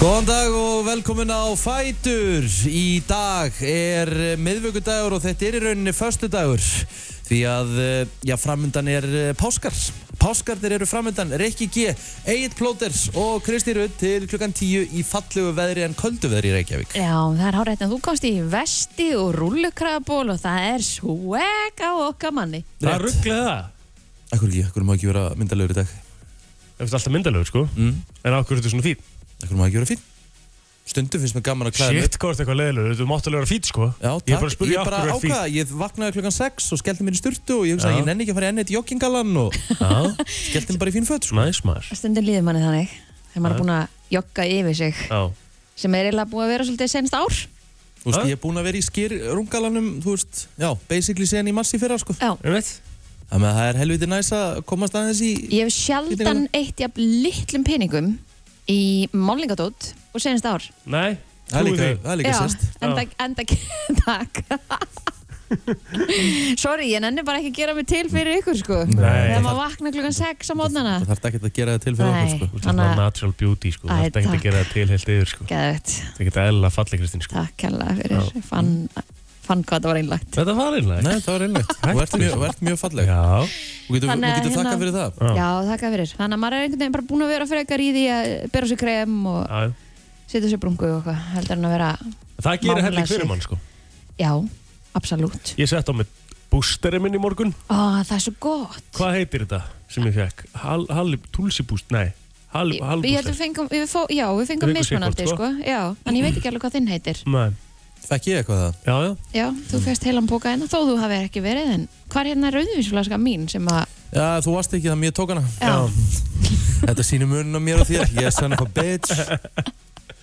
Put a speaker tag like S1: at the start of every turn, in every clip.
S1: Góðan dag og velkomin á Fætur. Í dag er eh, miðvikudagur og þetta er í rauninni föstudagur því að eh, já, framöndan er eh, páskar. Páskarnir eru framöndan Rikki G, Egil Plóters og Kristi Rudd til klukkan 10 í fallugu veðri en köldu veðri í Reykjavík.
S2: Já, það er hárætt en þú komst í vesti og rullukraból og það er swag á okkar manni.
S3: Það rugglaði það.
S1: Akkur ekki, akkur má ekki vera myndalegur í dag.
S3: Það finnst alltaf myndalegur, sko. Mm. En af hverju ertu svona fín?
S1: Akkur má ekki vera fín. Stundum finnst mér gaman að klæða mig upp.
S3: Shit, hvað ertu eitthvað leiðilegur? Þú mátt alveg vera fín, sko.
S1: Já, takk.
S3: Ég er bara að spyrja af hverju ertu fín.
S1: ákvaða, ég vaknaði klukkan 6 og skellti mér í sturtu og ég hugsaði
S3: Já.
S1: að ég nenni ekki að fara í ennið joggingalann og
S3: Já,
S1: skellti mér bara í fín föt. sko.
S3: næs maður.
S2: Stundin líður manni þannig. Þegar maður er
S3: Já.
S2: búin að jogga yfir sig
S3: Já.
S2: sem er eiginlega búið að vera svolítið senst ár.
S1: Þú veist,
S3: Ha?
S1: ég er búinn að vera í skýrrungalanum, þú veist, já, basically síðan í massi fyrra, sko.
S2: Já,
S3: Um veit?
S1: Þannig að það er helviti næs að komast aðeins í...
S2: ég hef sjaldan eitt jafn litlum peningum í málningadótt og senst ár.
S3: Nei.
S1: Það er
S3: trúi
S1: líka,
S3: því.
S1: það er líka
S2: Já,
S1: sérst.
S2: Enda, enda, takk. Sorry, ég nenni bara ekki að gera mig til fyrir ykkur, sko. Þegar
S3: Nei.
S2: maður vakna klukkan 6 á mótnana.
S1: Það þarf ekki að gera það til fyrir
S2: Nei.
S1: okkur, sko.
S3: Þú ert
S2: Þannig
S3: svona
S2: að-
S3: natural beauty, sko. Það
S2: Æ,
S3: er ekkert
S2: takk.
S3: að gera það til heilt yfir, sko.
S2: Gæðvett.
S3: Það er ekkert eðlilega falleg, Kristín, sko.
S2: Takk hella fyrir,
S3: Já.
S2: fann, fann hvað það var einlagt.
S3: Þetta var einlega.
S1: Nei, það var einlegt. Þú ert mjög, þú ert mjög falleg.
S3: Já.
S1: Þú getur,
S2: Þannig
S1: þú
S2: að
S1: getur
S2: hérna-
S1: þakka fyrir það.
S3: Já.
S2: Já, þakka fyrir. Þannig að maður er einhvern veginn bara búin að vera frekar í því að bera sér krem og
S3: Já.
S2: setja sér brungu og eitthvað, heldur en að vera,
S3: Það gerir
S2: Mála
S3: helling
S2: sig.
S3: fyrir mann, sko.
S2: já, absolutt.
S3: Ég sett á mig bústerinn minn í morgun.
S2: Ó, það er svo gott.
S3: Hvað heitir þetta sem ég fekk? Hal- Halli- Tulsiboost- nei,
S2: Ég-
S3: Halli-
S2: Ég held
S3: Halbooster.
S2: við fengum, við fó, já, við fengum
S3: Við fengum
S2: mismunandi,
S3: sikkvort,
S2: sko. Já, en ég veit ekki alveg hvað þinn heitir.
S3: Nei.
S1: Fekk ég eitthvað það?
S3: Já, já.
S2: Já, þú fegst heilan póka hérna, þó þú hafið ekki verið, en hvað er hérna rauðvísflaska mín sem að,
S1: Já, þú varst ekki það, mér tók hana.
S2: já,
S1: Þetta sýnir munum á mér og þér. Ég er sann eitthvað bitch.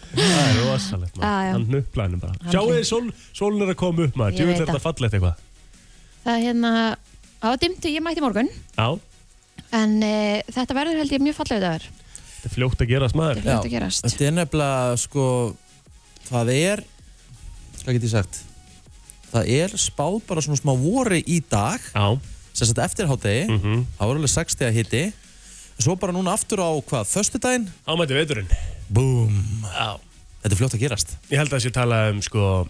S3: Það er rosalegt
S2: Já,
S3: maður,
S2: já.
S3: hann hnuplaði henni bara
S2: Hann
S3: Sjáu þið, sól, sólun er að koma upp maður,
S2: Ég
S3: djúvill
S2: veit
S3: er þetta
S2: það.
S3: fallegt eitthvað
S2: það er hérna, það var dimmt, ég mætti í morgun,
S3: Já,
S2: en e, þetta verður held ég mjög fallega dagur.
S3: þetta er fljótt að gerast
S2: Þetta
S3: maður
S2: er hlut að gerast.
S1: Þetta er nefnilega, sko, það er, hvað get ég sagt? Það er spáð bara svona smá voru í dag,
S3: Já,
S1: sem sagt eftir hádegi.
S3: mhm,
S1: Það voru alveg 6 þegar hitti Svo bara núna aftur á hvað, föstudaginn
S3: ámætti veiturinn
S1: Búm
S3: Já
S1: Þetta er fljótt að gerast
S3: Ég held að þessi talað um sko,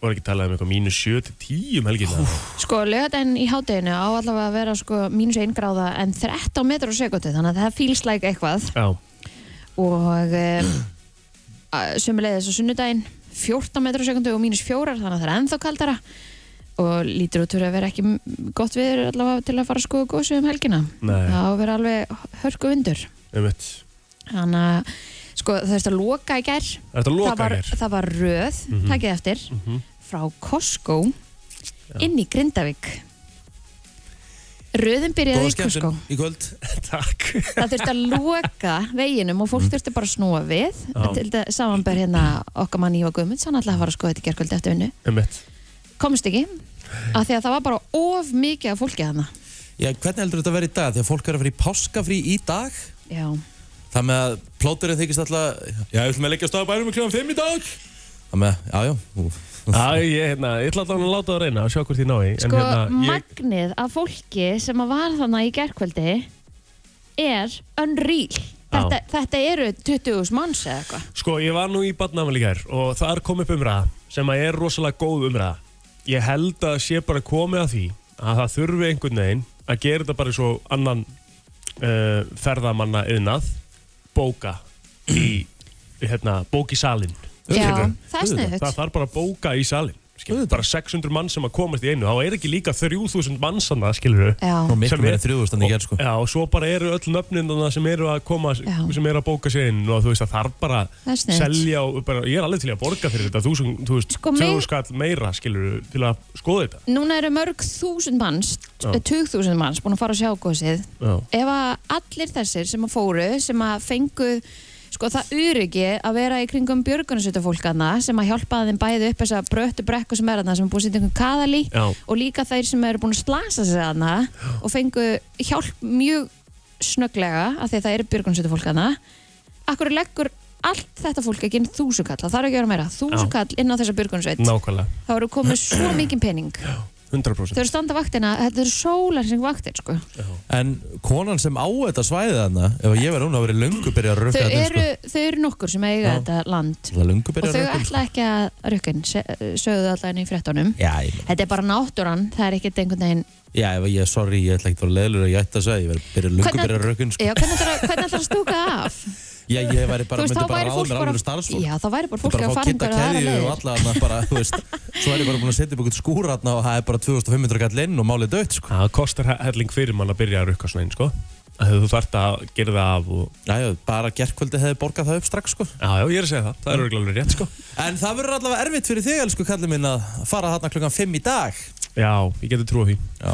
S3: voru ekki talað um eitthvað mínus 7 til 10 um helgina
S2: Sko, lögadaginn í hádeginu á allavega að vera sko mínus 1 gráða en 13 metrar á sekundu, þannig að það feels like eitthvað
S3: Já,
S2: og e, sömulegðis á sunnudaginn 14 metrar á sekundu og mínus 4 þannig að það er ennþá kaldara og lítur út fyrir að vera ekki m- gott viður allavega til að fara sko gósu um helgina
S3: nei,
S2: það á að vera alveg hörku undur
S3: um eitt
S2: þannig að sko það þurfti að loka í gær
S3: Þetta
S2: það
S3: loka
S2: var,
S3: hér
S2: það var röð,
S3: Mhm.
S2: takið eftir
S3: Mhm.
S2: frá Costco
S3: Já.
S2: inn í Grindavík Röðin byrjaði
S1: Góða
S2: í Costco
S1: skemmtun í kvöld
S3: Takk
S2: Það þurfti að loka veginum og fólk þurfti bara að snúa við
S3: Mhm. Já.
S2: til þetta samanber hérna okkar mann Ívar Guðmunds hann ætlaði að fara að skoða þetta í gerkvöldi eftir vinnu
S3: Um eitt
S2: komst ekki, af því að það var bara of mikið af fólki þarna
S1: Já, hvernig heldur þetta að vera í dag? Þegar fólk er að fara í páskafrí í dag
S2: Já,
S1: Það með að plóturinn þykist alltaf Já, við ætlum að leggja á staða bænum kljóðan 5 í dag Það með að, já, já ú.
S3: Já, ég, hérna, ég ætla allan að láta það reyna og sjá hvort ég nái En
S2: sko
S3: hérna, ég,
S2: magnið af fólki sem að var þarna í gerkvöldi er unreal
S3: Já.
S2: þetta, þetta eru 20.000 manns eða eitthvað
S3: Sko, ég var nú í badnafæli gær og þar kom upp umræða sem að er rosalega góð umræða. Ég held að sé bara komið að því að það þurfi einhvern veginn að gera þetta bara svo annan uh, ferðamanna yðnað bóka í, hérna, bók í salin.
S2: Já,
S1: Auðvitað.
S2: það er
S1: Auðvitað.
S2: sniðut
S3: Það þarf bara að bóka í salin. Skilur,
S1: Auðvitað.
S3: bara 600 mann sem að komast í einu. Þá er ekki líka 3000 mannsana, skilur þau.
S2: Já,
S1: Nú miklu
S3: Sem
S1: meira
S3: er-
S1: þrjúðustand í gerð, sko
S3: Já, og svo bara eru öll nöfnin þarna sem eru að koma,
S2: Já.
S3: sem eru að bóka sér inn og þú veist að þarf bara
S2: það er sniðut
S3: selja og bara, ég er alveg til í að borga fyrir þetta þú, sem, þú veist,
S2: Sko,
S3: sem
S2: mig-
S3: þú skall meira skilur til að skoða þetta
S2: Núna eru mörg þúsund manns,
S3: Já.
S2: 20.000 manns búin að fara að sjá gósið
S3: já,
S2: Ef að allir þessir sem að fóru, sem að fengu sko það uryggi að vera í kringum björgunarsötu fólkana sem að hjálpa þeim bæði upp þessa bröttu brekku sem er þarna sem er búin að setja einhvern kaðal í
S3: já,
S2: og líka þeir sem eru búin að slasa sig þarna og fengu hjálp mjög snögglega af því að það eru björgunsötu fólk þarna Akkur leggur allt þetta fólk ekki inn þúsukall, það þarf ekki að vera meira þúsukall inn á þessa björgunsveit
S3: nákvæmlega
S2: þá eru komið svo mikið pening Þau
S3: 100%
S2: eru standa vaktina, þetta eru sólar sem vaktir sko.
S1: En konan sem á þetta svæðið þarna, ef ég verði hún að verið löngu byrja að
S2: þau,
S1: rökka þetta
S2: eru, þau eru nokkur sem eiga
S1: sko. Já.
S2: þetta land
S1: sko. Löngu
S2: og
S1: byrja að
S2: þau
S1: rökka
S2: ætla ekki að rökkinn sögðu allan í fréttunum
S1: Já, ég meina,
S2: Þetta er bara náttúran, það er ekkert einhvern veginn
S1: já, ef ég, sorry, ég ætla ekki að vera leðlur að ég ætti að segja, ég verði byrja löngu
S2: Hvernig-
S1: byrja að rökka sko.
S2: Já, hvernig ætlar að- hvernig ætlar að stúka af?
S1: Já, ég væri
S2: Þú
S1: bara,
S2: veist,
S1: myndi
S2: þá
S1: bara
S2: væri
S1: ráða
S2: fólk
S1: mér
S2: bara-
S1: alveg starfsfólk.
S2: Já, þá væri bara fólk
S1: Bara
S2: að
S1: fá
S2: fara
S1: kitta
S2: einhverja aðra
S1: keðju og
S2: leiðir
S1: alla þarna bara, þú veist Svo er ég bara búin að setja upp eitthvað skúr þarna og það er bara 2500 kall inn og málið dött, sko
S3: Það kostar he- helling fyrir mann að byrja að rukka svona einn sko að þú þarft að gera það af og
S1: Næja, bara gerkvöldi hefði borgað það upp strax, sko
S3: Já, já, ég er að segja það, það
S1: Mm.
S3: er örgulega alveg rétt sko
S1: En það verður allavega erfitt fyrir þig, elsku kallið minn, að fara þarna klukkan 5 í dag
S3: Já, ég geti trúið því
S1: Já,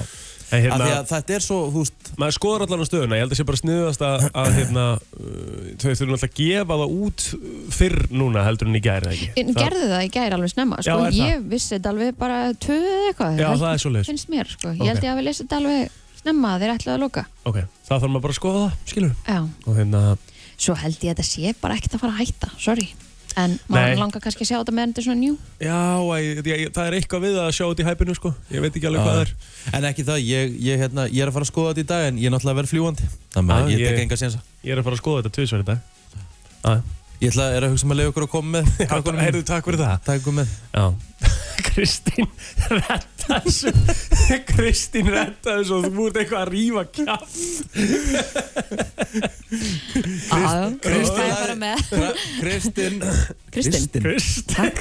S3: En
S1: af
S3: hérna,
S1: því að þetta er svo, þú veist
S3: maður skoðar allan á stöðuna Ég held að sé bara sniðast að, að hérna, uh, þau þurfum alltaf að gefa það út fyrr núna heldur en í gær eða ekki
S2: En
S3: Það-
S2: gerðu það í gæri alveg snemma
S3: Já,
S2: sko.
S3: er það?
S2: Ég vissi þetta alveg bara tvö eða eitthvað
S3: Já, það er svoleiðis.
S2: Finnst mér, sko.
S3: Ok.
S2: ég held ég að við lesa þetta alveg snemma að þeir ætlaðu að loka
S3: Ok, það þarf maður bara að skoða það, skilur
S2: Já,
S3: Og hérna,
S2: svo held ég að þetta sé bara ekkert að fara að hætta Sorry, en
S3: Nei.
S2: maður langar kannski að sjá þetta meðan þetta er svona njú
S3: já, æ, ég, ég, það er eitthvað við að sjá út í hæpinu sko Ég veit ekki alveg hvað það er
S1: En ekki það, ég, ég, hérna, ég er að fara að skoða þetta í dag en ég er náttúrulega að vera fljúandi Þannig
S3: Ah,
S1: að ég
S3: ég-
S1: tek enga sénsa
S3: Ég er að fara að skoða þetta tvisvar í dag Æ,
S1: Ég ætla er að hugsa um að leiða okkur að koma með
S3: já,
S1: krakkunum mínum.
S3: heyrðu, takk fyrir það
S1: Takk ykkur með
S3: Já Kristín retta þessu Kristín retta þessu og þú ert eitthvað að rífa kjátt
S2: Já,
S1: Kristinn-
S2: það er bara með
S1: Kra- Kristinn
S2: Kristinn,
S3: Krist
S2: takk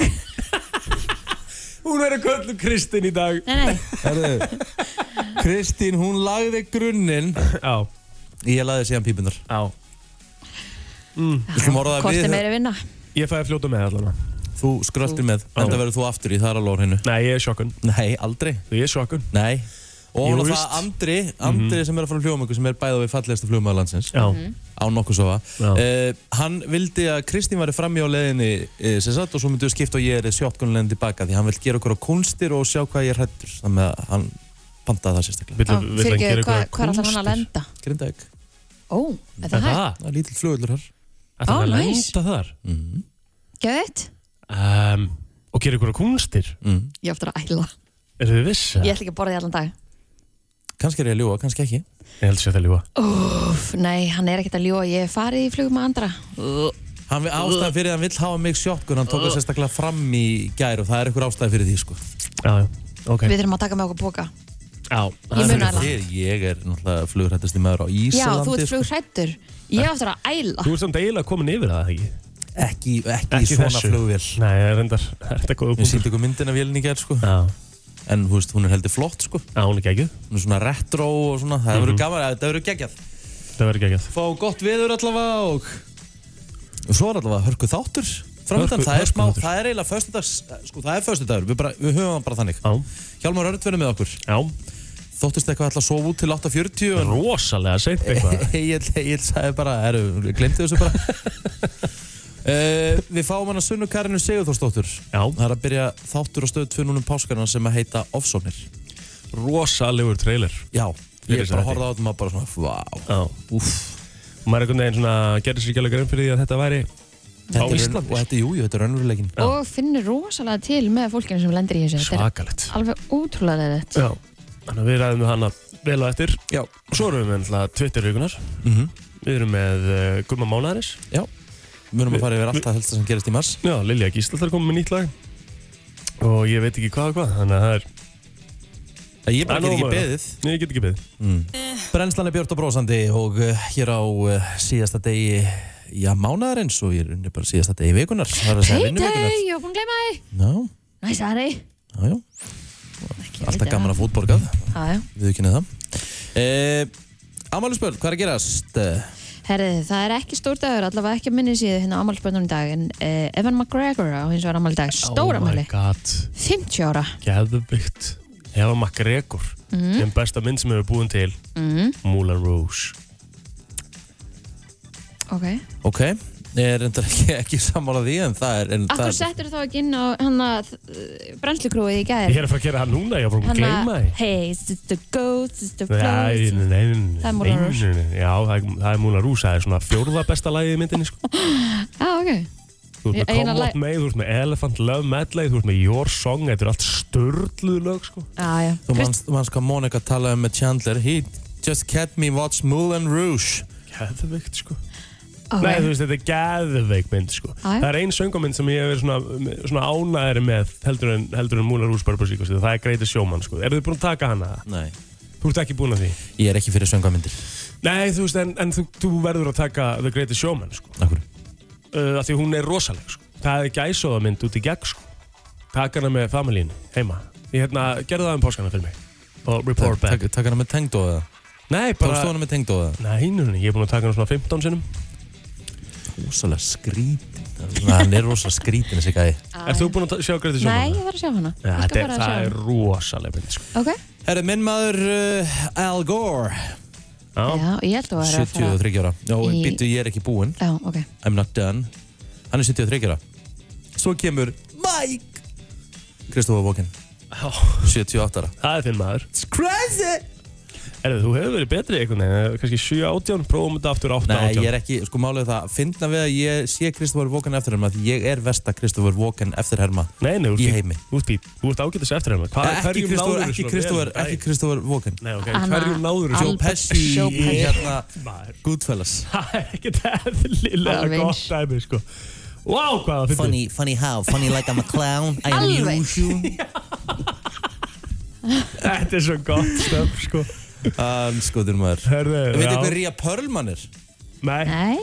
S3: Hún er að köllu Kristín í dag
S2: Nei, nei,
S1: Herðu, Kristín, hún lagði grunninn
S3: Já,
S1: Ég lagði síðan pípunar
S3: já
S1: Við skulum orða það
S2: hvort
S1: við-
S2: er meira vinna
S3: Ég fæði að fljóta með allan
S1: Þú skröldir með, þetta verður þú aftur í, það er alveg á hennu
S3: Nei, ég er sjokkun
S1: Nei, aldrei
S3: Ég er sjokkun
S1: Nei Og
S3: Jú,
S1: hún á
S3: víst.
S1: það Andri, Andri sem er að fara um fljóðmengu sem er bæða við fallegasta fljóðmaður landsins
S3: Já,
S2: Mhm.
S1: á nokkuð sofa
S3: Já.
S1: uh, Hann vildi að Kristín væri framjá leiðinni uh, sem sagt og svo myndum við skipta og ég er sjóttkunnulegin tilbaka því hann vil gera okkur á kunstir og sjá hvað ég er hrættur þannig að hann pantaði það sérstaklega
S3: vill hann vill hann
S2: Fyrirgeðu,
S3: gera
S2: hvað
S3: eitthvað
S2: hvað er alltaf hann að
S3: kúnstir?
S2: lenda?
S1: Grindavík,
S2: Ó, er
S3: Er
S2: það hægt?
S3: Það,
S1: það er lítill flugulur þar
S3: er það
S2: Ó,
S3: að
S2: nice.
S3: lenda þar
S1: mm.
S2: Gæðið?
S3: um, Og gera eitthvað kúnstir
S1: mm.
S2: Ég á eftir að æla
S3: Eru þið viss?
S2: Ég ætla ekki að borða því allan dag
S1: Kannski er ég að ljúa, kannski ekki
S3: Ég held sér það lífa
S2: Úff, nei, hann er ekkert að ljúa, ég hef farið í flugum að andra
S1: Hann ástæðan fyrir að hann vill hafa mig sjóttkun hann tók það sérstaklega fram í gær og það er eitthvað ástæðan fyrir því sko
S3: Já, já, ok
S2: Við þurfum að taka með okkur boka
S3: Já,
S2: Ég
S3: það er-
S2: mun að-
S1: Fyrir þér, ég er náttúrulega flugrættasti maður á
S2: Já,
S1: Íslandi
S2: þú ert
S1: sko.
S2: flugrættur Ég á eftir að æla
S3: Þú ert samt eiginlega komin yfir það, ekki?
S1: ekki, ekki,
S3: Ekki
S1: svona
S3: þessu.
S1: flugvél
S3: Nei, það er endar, þetta er góða
S1: Ég
S3: punktur.
S1: sýndi ykkur myndina vélni í gær sko
S3: Já,
S1: En þú veist, hún er heldur flott sko
S3: já, hún er geggjöð.
S1: Hún er svona retro og svona Það verður gaman, það verður geggjað
S3: Það verður geggjöð.
S1: Fá gott viður allavega og Og svo er allavega hörku þáttur Framöndan,
S3: Hörku-
S1: það er smá,
S3: hörkuþáttur.
S1: það er eiginlega föstudags Sko, það er föstudagur, við, bara, við höfum hann bara þannig
S3: Já,
S1: Hjálmar Örn verður með okkur
S3: já,
S1: Þóttist eitthvað ætla að sofa út til 8.40 En
S3: rosalega seint eitthvað.
S1: Egil, Egil sagði bara, erum, glemti þessu bara uh, Við fáum hann að sunnu Karinu Sigurþórsdóttur
S3: Já,
S1: Það er að byrja þáttur á stöð 2 núna um páskarna sem að heita Ofsóknir
S3: rosalegur trailer.
S1: Já, ég
S3: Fyrir
S1: bara
S3: sæti.
S1: horfði á þetta og maður bara svona, vá
S3: Já,
S1: Úff,
S3: maður er einhvern veginn svona, gerði sér ekki alveg grein fyrir því að þetta væri á
S1: þetta er raun-
S3: Íslandi.
S1: og þetta, jú, jú, þetta er raunveruleikin
S2: Og finnir rosalega til með fólkinu sem lendir í þessu Þetta
S3: Svakalegt.
S2: er alveg ótrúlega leðið
S3: Já, þannig að við ræðum við hana vel á eftir.
S1: Já,
S3: Svo erum við með náttúrulega Twitter-vikunar.
S1: mm
S3: Við erum með uh, Gumma Mánaðaris.
S1: já Við munum að fara yfir allt að helsta sem gerist í mars
S3: Já, Lilja Gísladar komið með nýtt lag. Og ég veit ekki hvað og hvað, þannig að það er,
S1: Ég bara
S3: Það
S1: get
S3: er
S1: ekki
S3: nóg að vera.
S1: beðið
S3: Nei, ég get ekki beðið.
S1: mm. Brennslan er björt og brósandi og uh, hér á uh, síðasta degi já, mánaðarins og ég er unni bara síðasta degi vikunar Það er að segja
S2: Payday,
S1: vinnuvikunar
S2: ég var búin að gleyma þig
S1: Já,
S2: Næs aðri
S1: já, já, alltaf gaman að fótborgað
S2: Já, já
S1: Við ekki neða uh, Amáli spöld, hvað er að gerast? Eh,
S2: Herðið, það er ekki stór dagur, allavega ekki að minni síðu hérna ámálspöndunum í dag en uh, Evan McGregor á hins vegar ámál í dag, stór ámáli
S3: Oh my god.
S2: 50 ára
S3: geðbyggt Eva McGregor mm. en besta mynd sem hefur búin til
S2: mm,
S3: Moulin Rouge
S2: Ok,
S1: Ok, er reyndar ekki, ekki sammála því en það er en það
S2: akkur
S1: er-
S2: settur þá ekki inn á hann að brennslukrúið í gær
S3: ég er að fara að gera það núna, ég er bara að
S2: Hanna,
S3: gleyma því
S2: Hey, it's just the goats, it's the
S3: Nei,
S2: floats
S3: nei, nei, nei,
S2: Það er Moulin
S3: nei,
S2: Rouge.
S3: nei, nei. Já, það er, það er Moulin Rouge, það er svona fjórða besta lagið í myndinni sko.
S2: Já, Ah, ok
S3: Þú ert með
S2: Einar
S3: Come
S2: lag-
S3: What May, þú ert með Elephant Love Medley, þú ert með Your Song, þetta er allt störluð lög sko.
S2: Já, já.
S1: Þú
S2: Krist-
S1: manst, manst hvað Monika talaði um með Chandler He just kept me watch Moulin Rouge
S3: Geðveikt sko.
S2: ok.
S3: Nei, þú veist, þetta er geðveik mynd sko.
S2: já.
S3: Það er ein söngamind sem ég hef verið svona, svona ánæðari með heldur en, heldur en Múlar Ús Barbara Síkos, það er Greita Sjóman sko. Eru þið búin að taka hana?
S1: Nei
S3: Þú ert ekki búin að því?
S1: Ég er ekki fyrir söngamindir
S3: Nei, þú veist, en, en þú, þú verður að taka The Greatest Showman sko.
S1: Akkur
S3: uh, af því hún er rosaleg sko. það er gæsóðamynd út í gegn sko. taka hana með familíinu heima ég hérna, gerði það um páskana fyrir mig og report back
S1: Takk hana með tengdóða
S3: nei,
S1: Tókst
S3: bara,
S1: þú hana með tengdóða
S3: nei, nei, nei, ég er búin að taka hana svona 15 sinum
S1: Rosalega skrítin Svona, Hann er rosalega skrítin þessi gæði
S2: Já,
S3: er þú
S2: já.
S3: búin að ta- sjá Greatest
S2: Nei,
S3: Showman?
S2: ég þarf að sjá hana.
S3: Ja,
S2: ég
S3: það,
S2: skal
S3: er,
S2: bara sjá
S3: það er
S2: hana.
S3: rosaleg mynd sko.
S2: Ok,
S1: Herru, minn maður uh, Al Gore
S3: já,
S2: já, ég held að það er að fara.
S1: 73 ára Já,
S2: Í-
S1: en býttu, ég er ekki búinn
S2: Já, ok.
S1: I'm not done Hann er 73 ára Svo kemur Mike Kristofur Walken
S3: Já.
S1: 78 ára
S3: það er þinn maður
S1: It's crazy
S3: Erðu, þú hefur verið betri einhvern veginn, kannski 7-18 prófum þetta aftur 8-18
S1: Nei, ég er ekki, sko málið er það, finna við að ég sé Kristofur Vókan eftirherma því ég er versta Kristofur Vókan eftirherma
S3: nei, nei,
S1: í
S3: úr,
S1: heimi.
S3: úr, úr, úr ágætis eftir hérna Hva,
S1: Ekki
S3: hverjum
S1: Kristofur,
S3: náðurðu
S1: ekki
S3: svona vel
S1: Kristofur,
S3: um daginn?
S1: ekki Kristofur Vókan
S3: Nei, ok,
S2: Anna-
S3: hverjum náður
S1: Joe
S2: Albert-
S1: Pesci
S2: Joe
S1: í
S2: Pesci.
S1: hérna
S3: maður
S1: Goodfellas
S3: Það er ekkert eðlilega
S2: Alveg
S3: gott
S2: eins.
S3: dæmi, sko. Vá, wow, hvað það fyrir.
S1: funny how, funny like I'm a clown I
S2: am Alveg.
S1: unusual
S3: Þetta er svo gott stöf, sko.
S1: Skoður maður
S3: Hörðu,
S1: Þú veit hver
S3: já.
S1: Ria Perlman er?
S3: Nei,
S2: Nei.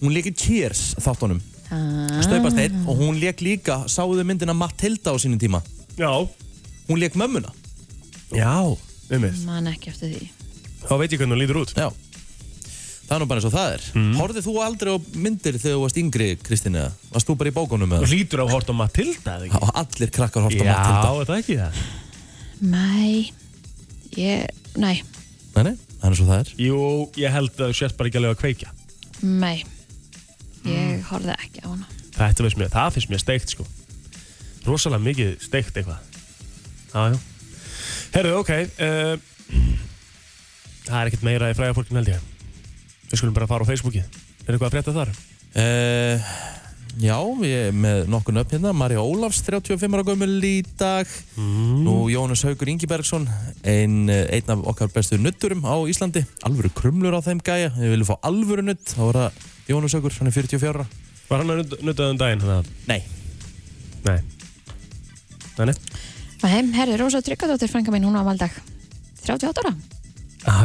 S1: Hún leik í Cheers þáttunum
S2: Ah.
S1: Staupast einn og hún leik líka, sáuðu myndina Matilda á sínum tíma
S3: já.
S1: Hún leik mömmuna
S3: Já, ummið.
S2: Man ekki eftir því.
S3: Þá veit ég hvernig hún lítur út.
S1: Já Það er nú bara eins og það er Horfðið þú aldrei á myndir þegar þú varst yngri, Kristín eða? Varst þú bara í bókunum
S3: Þú
S1: eða?
S3: lítur á hort á Matilda, eða ekki?
S1: Og allir krakkar horft á
S3: já,
S1: Matilda
S3: er það ekki það?
S2: Nei. Ég, nei,
S1: Nei, nei, það er eins og það er
S3: Jú, ég held að þú sést bara ekki alveg að kveikja.
S2: nei. Ég horfði ekki á hana.
S3: Þetta finnst mér, það finnst mér steikt, sko. Rosalega mikið steikt eitthvað. Já, já. Herðu, ok. Uh, það er ekkert meira í fræða fólkinu held ég. Við skulum bara fara á Facebookið. Er eitthvað að frétta þar?
S1: uh, Já, við erum með nokkur nöfn hérna Marja Ólafs, 35 ára gömul í dag Nú Jónas Haugur Ingibergsson ein, eh, Einn af okkar bestu nutturum á Íslandi Alvöru krumlur á þeim gæja Ef Við viljum fá alvöru nutt Þá er það Jónas Haugur, hann er 44 ára
S3: Var hann að nudd- nuddaði um daginn þannig að
S1: Nei,
S3: Nei Þannig
S2: Nei, herri, Rósa Tryggvadóttir, frænka mín, hún var valdag. 38 ára.
S3: ah,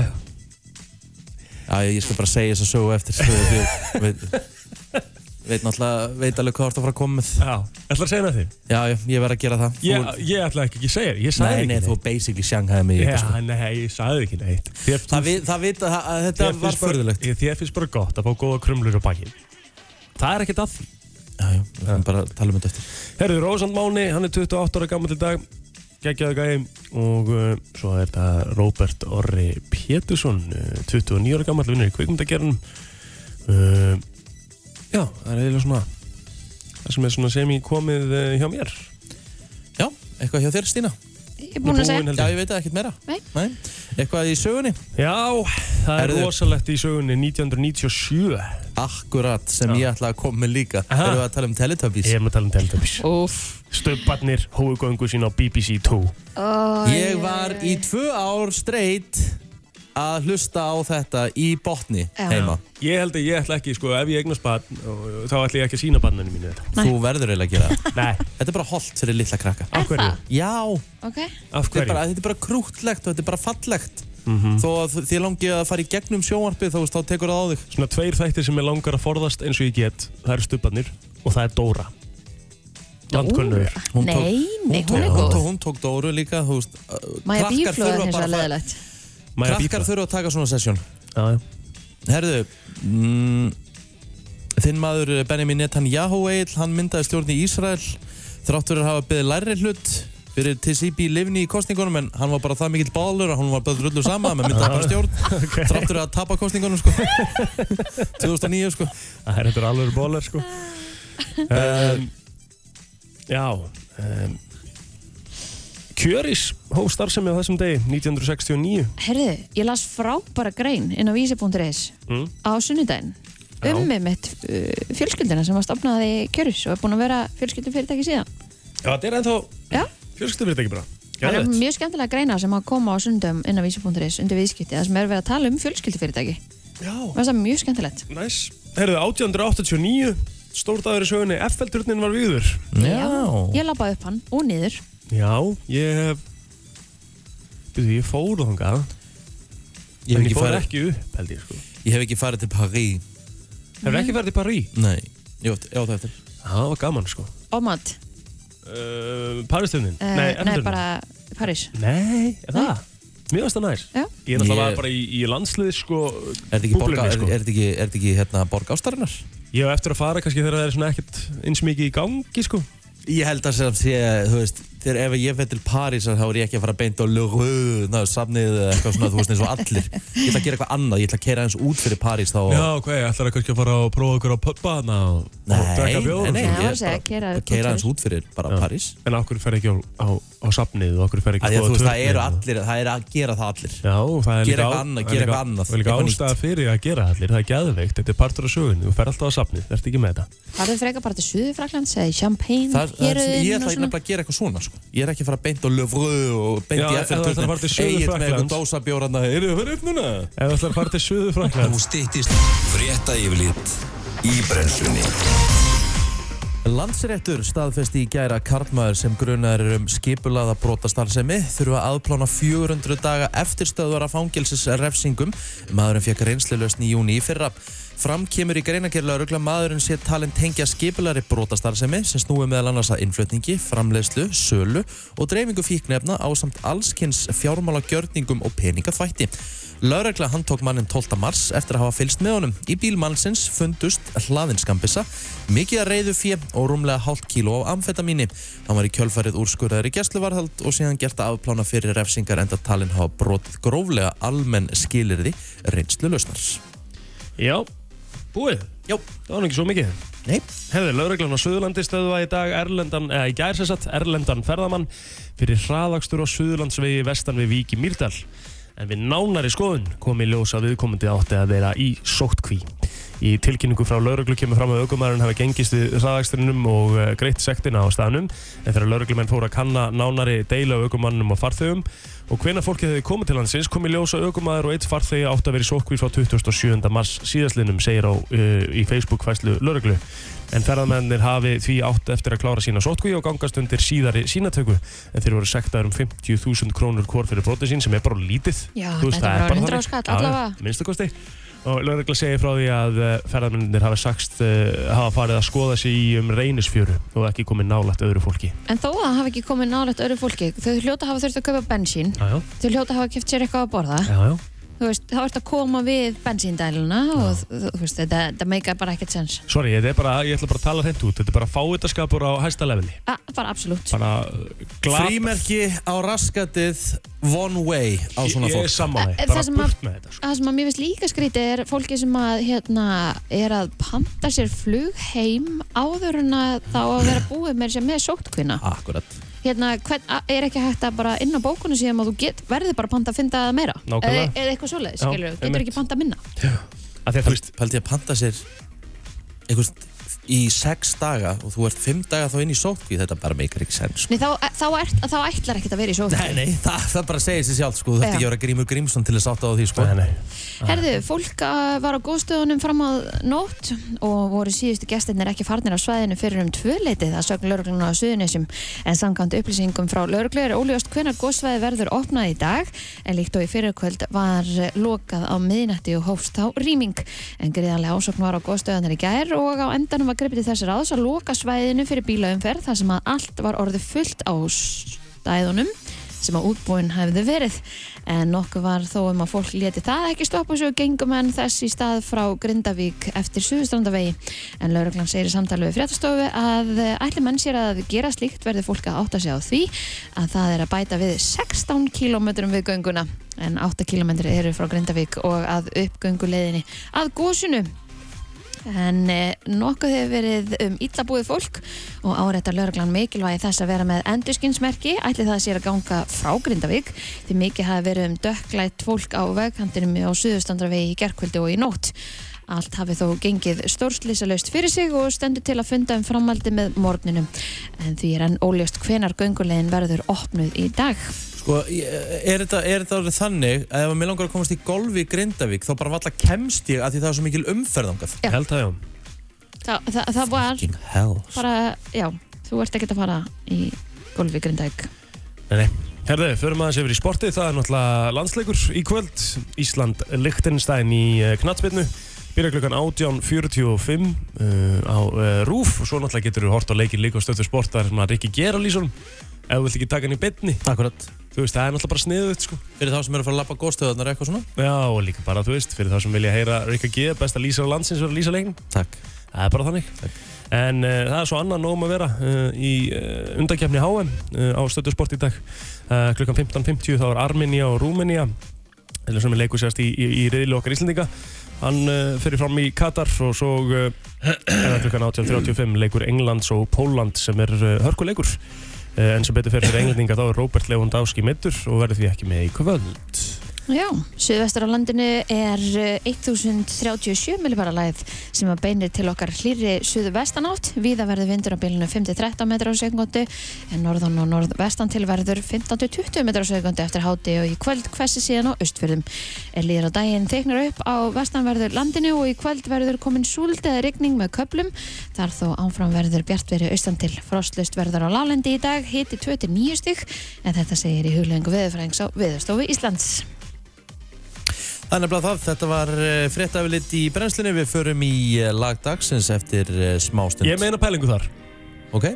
S1: Já, ég skal bara segja þess að sögu eftir svo að ég veit, veit náttúrulega, veit alveg hvað þú ert að fara að koma með
S3: Já Ætla að segja það þig
S1: Já, já, ég verð að gera það
S3: ég,
S1: þú,
S3: ég ætla ekki ekki að segja þér. Ég sagði
S1: Nei, nei,
S3: ekki
S1: þú basically sjanghæði mig í
S3: Já,
S1: þetta sko.
S3: nei, ég sagði ekki neitt Þér
S1: Það vit, það vit að, að þetta
S3: þér
S1: var
S3: finnst bara-
S1: förðulegt
S3: ég- Þér finnst bara gott að fá góða krumlur á bakið Það er ekkert að því
S1: Já, já, við erum bara að tala um þetta eftir
S3: Herðu, Rósand Máni, hann er 28 ára gammal til dag geggjaðu gæði og uh, svo er þetta Róbert Orri Pétursson uh, 29 ára gammal vinnur í kvikmyndagerðinum uh, Já, það er eiginlega svona það sem er svona sem ég komið uh, hjá mér
S1: Já, eitthvað hjá þér, Stína?
S2: Ég er búin að segja.
S3: Búin, held
S1: Já,
S3: ég.
S1: ég veit það ekkert meira
S2: Nei.
S1: Eitthvað í sögunni?
S3: Já, það er
S1: Herðu.
S3: rosalegt í sögunni 1997
S1: Akkurat, sem
S3: Já.
S1: ég ætla að koma með líka
S3: Aha.
S1: Erum við að tala um Teletubbies?
S3: Ég er með að tala um Teletubbies
S2: Úff.
S3: Stöpbarnir, hóugöngu sín á BBC 2
S2: Ó,
S1: Ég var í tvö ár straight að hlusta á þetta í botni
S2: Já.
S1: heima
S3: Ég held að ég ætla ekki, sko, ef ég eignast barn og- þá ætla ég ekki að sína barninu mínu þetta
S2: Nei.
S1: Þú verður eiginlega að gera það
S3: Nei,
S1: Þetta er bara holdt fyrir litla krakka
S3: af
S2: Er
S3: hverju?
S2: það?
S1: Já,
S2: Ok.
S3: Af
S1: þetta er,
S3: hverju? Mhm.
S1: bara, þetta er bara krútlegt og þetta er bara fallegt Þó að þið langi að fara í gegnum sjónvarpið þá, veist, þá tekur það á þig
S3: Svona tveir þættir sem ég langar að forðast eins og ég get Það eru stubbarnir og það er Dóra Landkunnur
S1: Hún tók-
S2: Nei, nei, hún er
S1: tók,
S2: góð.
S1: tók, hún tók Dóru líka þú veist, uh,
S2: Maja
S1: krakkar
S2: Bíflóð er
S1: þurfa
S2: hins
S1: bara
S2: vegar
S1: að fara-
S2: leðilegt.
S3: Maja
S1: Krakkar
S3: Bíbla
S1: þurfa að taka svona sessjón
S3: Já, já.
S1: Herðu mm, Þinn maður eh, Benjamin Netanyahu Egil, hann myndaði stjórn í Ísrael þráttur að hafa beðið læri hlut fyrir TCB Livni í kostningunum en hann var bara það mikill bálur að hún var bara drullu sama menn myndaði bara stjórn þráttur að tapa kostningunum sko 2009 sko
S3: Það er þetta alveg bólar sko um, Já um, Kjöris hóf starfsemi á þessum degi 1969
S2: Herðu, ég las frábæra grein inn á vísi.is
S3: Mm.
S2: á sunnudaginn um með mitt fjölskyldina sem að stopnaði kjörus og er búin að vera fjölskyldum fyrirtæki síðan.
S3: Já, þetta er ennþá
S2: Já.
S3: fjölskyldufyrirtæki bara.
S2: Það er
S3: Geðveikt.
S2: mjög skemmtilega greina sem að koma á sundum inn á vísi.is undir viðskipti það sem er verið að tala um fjölskyldufyrirtæki.
S3: Já.
S2: Það er mjög skemmtilegt.
S3: Næs. Herðu, 1889, stór dagur í sögunni, FL-turnin var viður.
S2: Ég labbaði upp hann og niður.
S3: Já, ég hef... Býðu, ég fór þangað.
S1: Ég hef
S3: en
S1: ekki
S3: ég fór
S1: farið-
S3: ekki upp, held ég, sko.
S1: Ég hef ekki farið til Paris
S3: Hefur ekki farið til París?
S1: Nei, ég átti- ég á það eftir
S3: Það var gaman, sko.
S2: Ómat.
S3: Uh, Paris-turnin?
S2: Uh,
S3: nei,
S2: nei,
S3: FL-turnin.
S2: bara París.
S3: Nei, er það? Mér varst það nær.
S2: Já.
S3: Ég er náttúrulega
S1: Ég-
S3: bara í, í landslið, sko,
S1: Er þetta ekki,
S3: búblunni,
S1: borga, er,
S3: sko.
S1: er þetta ekki, er þetta ekki hérna, borg ástarinnar?
S3: Ég hef eftir að fara kannski þegar það er svona ekkert eins mikið í gangi, sko.
S1: Ég held að sem sé, þú veist, þegar ef ég veit til París þá er ég ekki að fara beint á lögu, ná, safnið eða eitthvað svona, þú veist, eins og allir. Ég ætla að gera eitthvað annað, ég ætla að keira eins út fyrir París þá.
S3: Já, hvað, ég ætlar kannski að fara og prófa ykkur á pubba hana og,
S1: Nei,
S3: og drekka bjóður.
S1: nei, nei,
S2: Já,
S1: ég
S2: hann
S1: er
S2: segir
S1: bara
S2: að keyra
S1: bara
S2: út
S1: keyra eins
S2: fyrir.
S1: út fyrir bara
S3: Já.
S1: París.
S3: En okkur fer ekki á, á, á safnið og okkur fer ekki
S1: Af því að þú veist, það
S3: turninn
S1: eru
S3: og-
S1: allir, það er að gera það allir.
S3: Já, það
S1: Gera
S3: er líka
S1: eitthvað
S3: á-
S1: annað,
S3: það er
S1: gera
S3: líka-
S1: eitthvað annað,
S3: Það er líka
S1: eitthvað nýtt.
S3: ástæða fyrir því að gera það allir, það er gæðveikt, þetta er partur af sögunni, þú fer alltaf á safnið, það ert ekki með þetta
S2: Það er frekar bara til Suðurfraklands eða í Champagne,
S1: Það, það er, ég
S2: Héruðin
S1: ætla
S2: og
S1: nefnilega
S2: svona.
S1: að gera eitthvað svona sko. Ég er ekki að fara beint á löfru og beint
S3: Já,
S1: í
S3: ef þú ætlar að fara til
S1: FN-turnin Egil með eitthvað
S3: Suður-Frakklands.
S1: dósabjórna Eru þið fyrir upp núna?
S3: Ef þú ætlar að fara til Suðu Franklands
S4: Stýttist Frétta yfirlit Í brennslunni
S1: Landsréttur staðfesti í gæra karlmaður sem grunar um skipulaða brotastarfsemi þurfa að aðplána 400 daga eftirstöðvara fangelsisrefsingum. Maðurinn fekk reynslilösn í júni í fyrra. Fram kemur í greinagerlega rögla maðurinn sé talin tengja skipulari brotastarfsemi sem snúi meðal annars að innflutningi, framleiðslu, sölu og dreifingu fíknefna á samt allskins fjármála gjörningum og peningaþvætti. Lauregla handtók mannin 12. mars eftir að hafa fylst með honum. Í bíl mannsins fundust hlaðinskambissa, mikið að reyðu fjö og rúmlega hálft kíló af amfetamíni. Hann var í kjölfarið úrskurðar í gæsluvarðhald og síðan gert að afplána fyrir refsingar enda talin hafa brotið gróflega almenn skilirði reynslu lausnar.
S3: Já, búið,
S1: Jó,
S3: það var nú ekki svo mikið
S1: nei,
S3: Hefði lauruglan á Suðurlandi stöðva í dag Erlendan, eða í gærsessat, Erlendan ferðamann fyrir hraðakstur á Suðurlandsvegi vestan við Vík í Mýrdal. En við nánari skoðun kom í ljós að viðkomandi átti að vera í sóttkví. Í tilkynningu frá lauruglu kemur fram að aukumærin hafi gengist við hraðaksturinnum og eh, greitt sektina á staðnum en þegar lauruglumenn fóru að kanna nánari deila á aukumannum og farþegum og hvena fólkið hefði komið til hansins kom í ljós að aukumæður og eitt farþegi átti að vera í sóttkví frá 27. mars síðastlinnum segir á, uh, í Facebook-fæslu lauruglu en ferðamennir hafi því átt eftir að klára sína sótkví og gangast undir síðari sínatöku en þeir voru sektaður um 50.000 krónur hvor fyrir brotið sín sem er bara lítið
S2: Já,
S3: Þú
S2: þetta er bara 100
S3: þannig.
S2: skall
S3: Já,
S2: allavega.
S3: já, minnsta kosti og lögregla segir frá því að eh, ferðamennir hafa sagst eh, hafa farið að skoða sig í um reynisfjöru og ekki komið nálægt öðru fólki
S2: En þó að það hafi ekki komið nálægt öru fólki, þau hljóta hafa þurft að kaupa bensín,
S3: Já, já,
S2: þau hljóta hafa keft sér eitthvað að borða.
S3: já, já.
S2: Þú veist, þá ert að koma við bensíndæluna og þú þú veist, þetta, þetta meika bara ekkert sens.
S3: Sorry, þetta er bara, ég ætla bara að tala hreint út þetta er bara fáitaskapur á hæsta leveli
S2: A, bara absolutt.
S3: bara eh, glat
S1: frímerki á raskatið one way á svona
S3: Ég- Ég er
S1: fólk.
S2: Eh,
S3: sammála,
S2: það
S3: þér, bara
S2: sem að-
S3: burt með þetta sko.
S2: Það sem að mér finnst líka skrítið er fólki sem að, hérna, er að panta sér flug heim áður en að þá að vera búið með sér með sóttkvinna.
S1: Akkurat.
S2: Hérna, hvern, a- er ekki hægt að bara inn á bókunum síðan að þú get, verði bara að panta að finna það meira? Eða-
S3: Nákvæmlega.
S2: Eða eitthvað svoleiðis,
S3: Já,
S2: skilur þú? Getur
S3: einmitt.
S2: ekki panta minna?
S3: Af því að þú veist,
S1: Paldi að panta sér einhvern í sex daga og þú ert fimm daga þá inn í sótkví, þetta bara meikar ekki sens.
S2: Nei, þá, þá, er, þá ætlar ekkert að vera í sóttkvinna.
S1: Nei, nei, það, það bara segir sér sjálf sko, þú þurft
S2: Já.
S1: ekki að vera Grímur Grímsson til að sátta á því sko.
S3: nei, nei,
S2: Herðu, fólk uh, var á góðstöðunum fram að nótt og voru síðustu gestirnir ekki farnir á svæðinu fyrir um tvöleitið að sögn laurugluna á Suðunisjum en samkvæmt upplýsingum frá lauruglu er óljóst hvenar góðsvæði verður opnað í dag en líkt og í fyrirkvöld var eh, lokað á miðnætti og hófst á rýming en greiðanlega ásokn var á góðstöðunar í gær og á endanum var gripið til þessir aðs að loka svæðinu fyrir bílaumferð þar sem að allt var orðið fullt á stæðunum sem að útbúinn hefði verið en nokkuð var þó um að fólk leti það ekki stoppa sig og gengum en þess í stað frá Grindavík eftir Suðustrandavegi en lauruglan segir í samtali við fréttastofu að eh, ætli menn sér að gera slíkt verði fólk að átta sig á því að það er að bæta við 16 km við gönguna en 8 km eru frá Grindavík og að uppgönguleiðinni að gósunu En eh, nokkuð hefur verið um illabúið fólk og áreittar lauruglan mikilvægi þess að vera með endurskinsmerki ætli það sér að ganga frá Grindavík því mikið hafi verið um dökklætt fólk á vegkantinum á suðustandravegi í gerkvöldi og í nótt Allt hafi þó gengið stórslýsalaust fyrir sig og stendur til að funda um framhaldi með morgninum. En því er enn óljóst hvenar göngulegin verður opnuð í dag.
S1: Sko, ég- er þetta, er þetta orðið þannig að ef að mér langar að komast í golfi í Grindavík þá bara valla kemst ég að því það er svo mikil umferðangað
S2: Já.
S3: Held að já
S2: Þa, það, það var
S1: Fucking hell
S2: bara, já, þú ert ekkert að fara í golfi Grindavík.
S3: Nei, nei. Herðu, förum aðeins yfir í sportið, það er náttúrulega landsleikur í kvöld, Ísland Lichtenstein í knatsbyrnu, byrja klukkan 18.45 uh, á uh, RÚF og svo náttúrulega getur þú hort á leikin líka á stöðu sport, það er sem að Rikki gera lýsunum, ef þú vilt ekki taka hann í byrni,
S1: Akkurat
S3: þú veist, það er náttúrulega bara sniðuð, sko.
S1: Fyrir þá sem eru að fara að lappa góðstöðunar eitthvað svona
S3: Já, og líka bara, þú veist, fyrir þá sem vilja heyra Rikki G, besta lýsar landsins verður að lýsa leikin,
S1: Takk
S3: það er bara þannig. En uh, það er svo annan nógum að vera uh, í uh, undakefni HM uh, á stöðu sport í dag. Uh, klukkan 15.50 þá er Armenia og Rúmenia, eða sem er leikur sérst í, í, í reyðli okkar Íslendinga. Hann uh, fyrir fram í Katar og svo uh, er það klukkan 18.35 leikur Englands og Póland sem er uh, hörkuleikur. Uh, en sem betur fyrir fyrir englendinga þá er Robert Lewandowski mittur og verður því ekki með í kvöld.
S2: Já, suðvestur á landinu er eh, 1037 millibara læð sem að beinir til okkar hlýri suðvestan átt. Víða verður vindur á bylunu 5-13 metrar á sekundu en norðan og norðvestan til verður 15-20 metrar á sekundu eftir háti og í kvöld hversi síðan á austfjörðum. Er líður á daginn teiknar upp á vestanverður landinu og í kvöld verður komin súld eða rigning með köplum. Þar þó áfram verður bjartveri austan til. Frostlust verður á lálendi í dag, hiti 29 stig en þetta segir í huglegingu veðurfræðings á Veðurstofu Íslands.
S1: Það er nefnilega það, þetta var fréttafilit í brennslunni Við förum í eh, lag dagsins eftir eh, smástund
S3: Ég meina pælingu þar.
S1: Ok,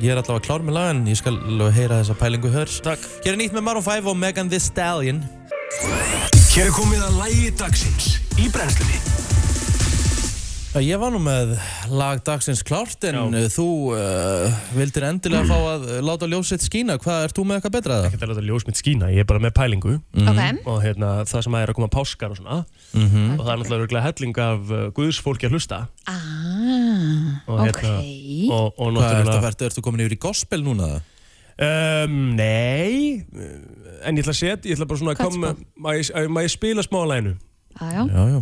S1: ég er allavega klár með lagan Ég skal alveg heyra þessa pælingu hör
S3: Takk.
S1: Hér er nýtt með Maroon 5 og Megan Thee Stallion
S4: Hér er komið að lægi dagsins í brennslunni
S1: Já, Ég var nú með lag dagsins klárt en eh,
S3: Já.
S1: þú uh, vildir endilega fá að eh, láta ljósitt skína Hvað, ert þú með eitthvað betra það?
S3: Ekki að láta ljós mitt skína, ég er bara með pælingu.
S1: Mhm,
S2: Ok,
S3: og hérna, það sem að er að koma páskar og svona og það er náttúrulega örugglega helling af uh, guðsfólki að hlusta
S2: ah,
S3: og, hérna-
S2: ok
S3: og, og
S1: Hvað, ertu,
S3: náttúrulega
S1: ertu, ertu komin yfir í gospel núna? eða?
S3: um, Nei, uh, en ég ætla að setja ég ætla bara svona að
S2: Hvað
S3: koma má ég- að- má ég spila smá læginu
S2: Já, já,
S1: Já, já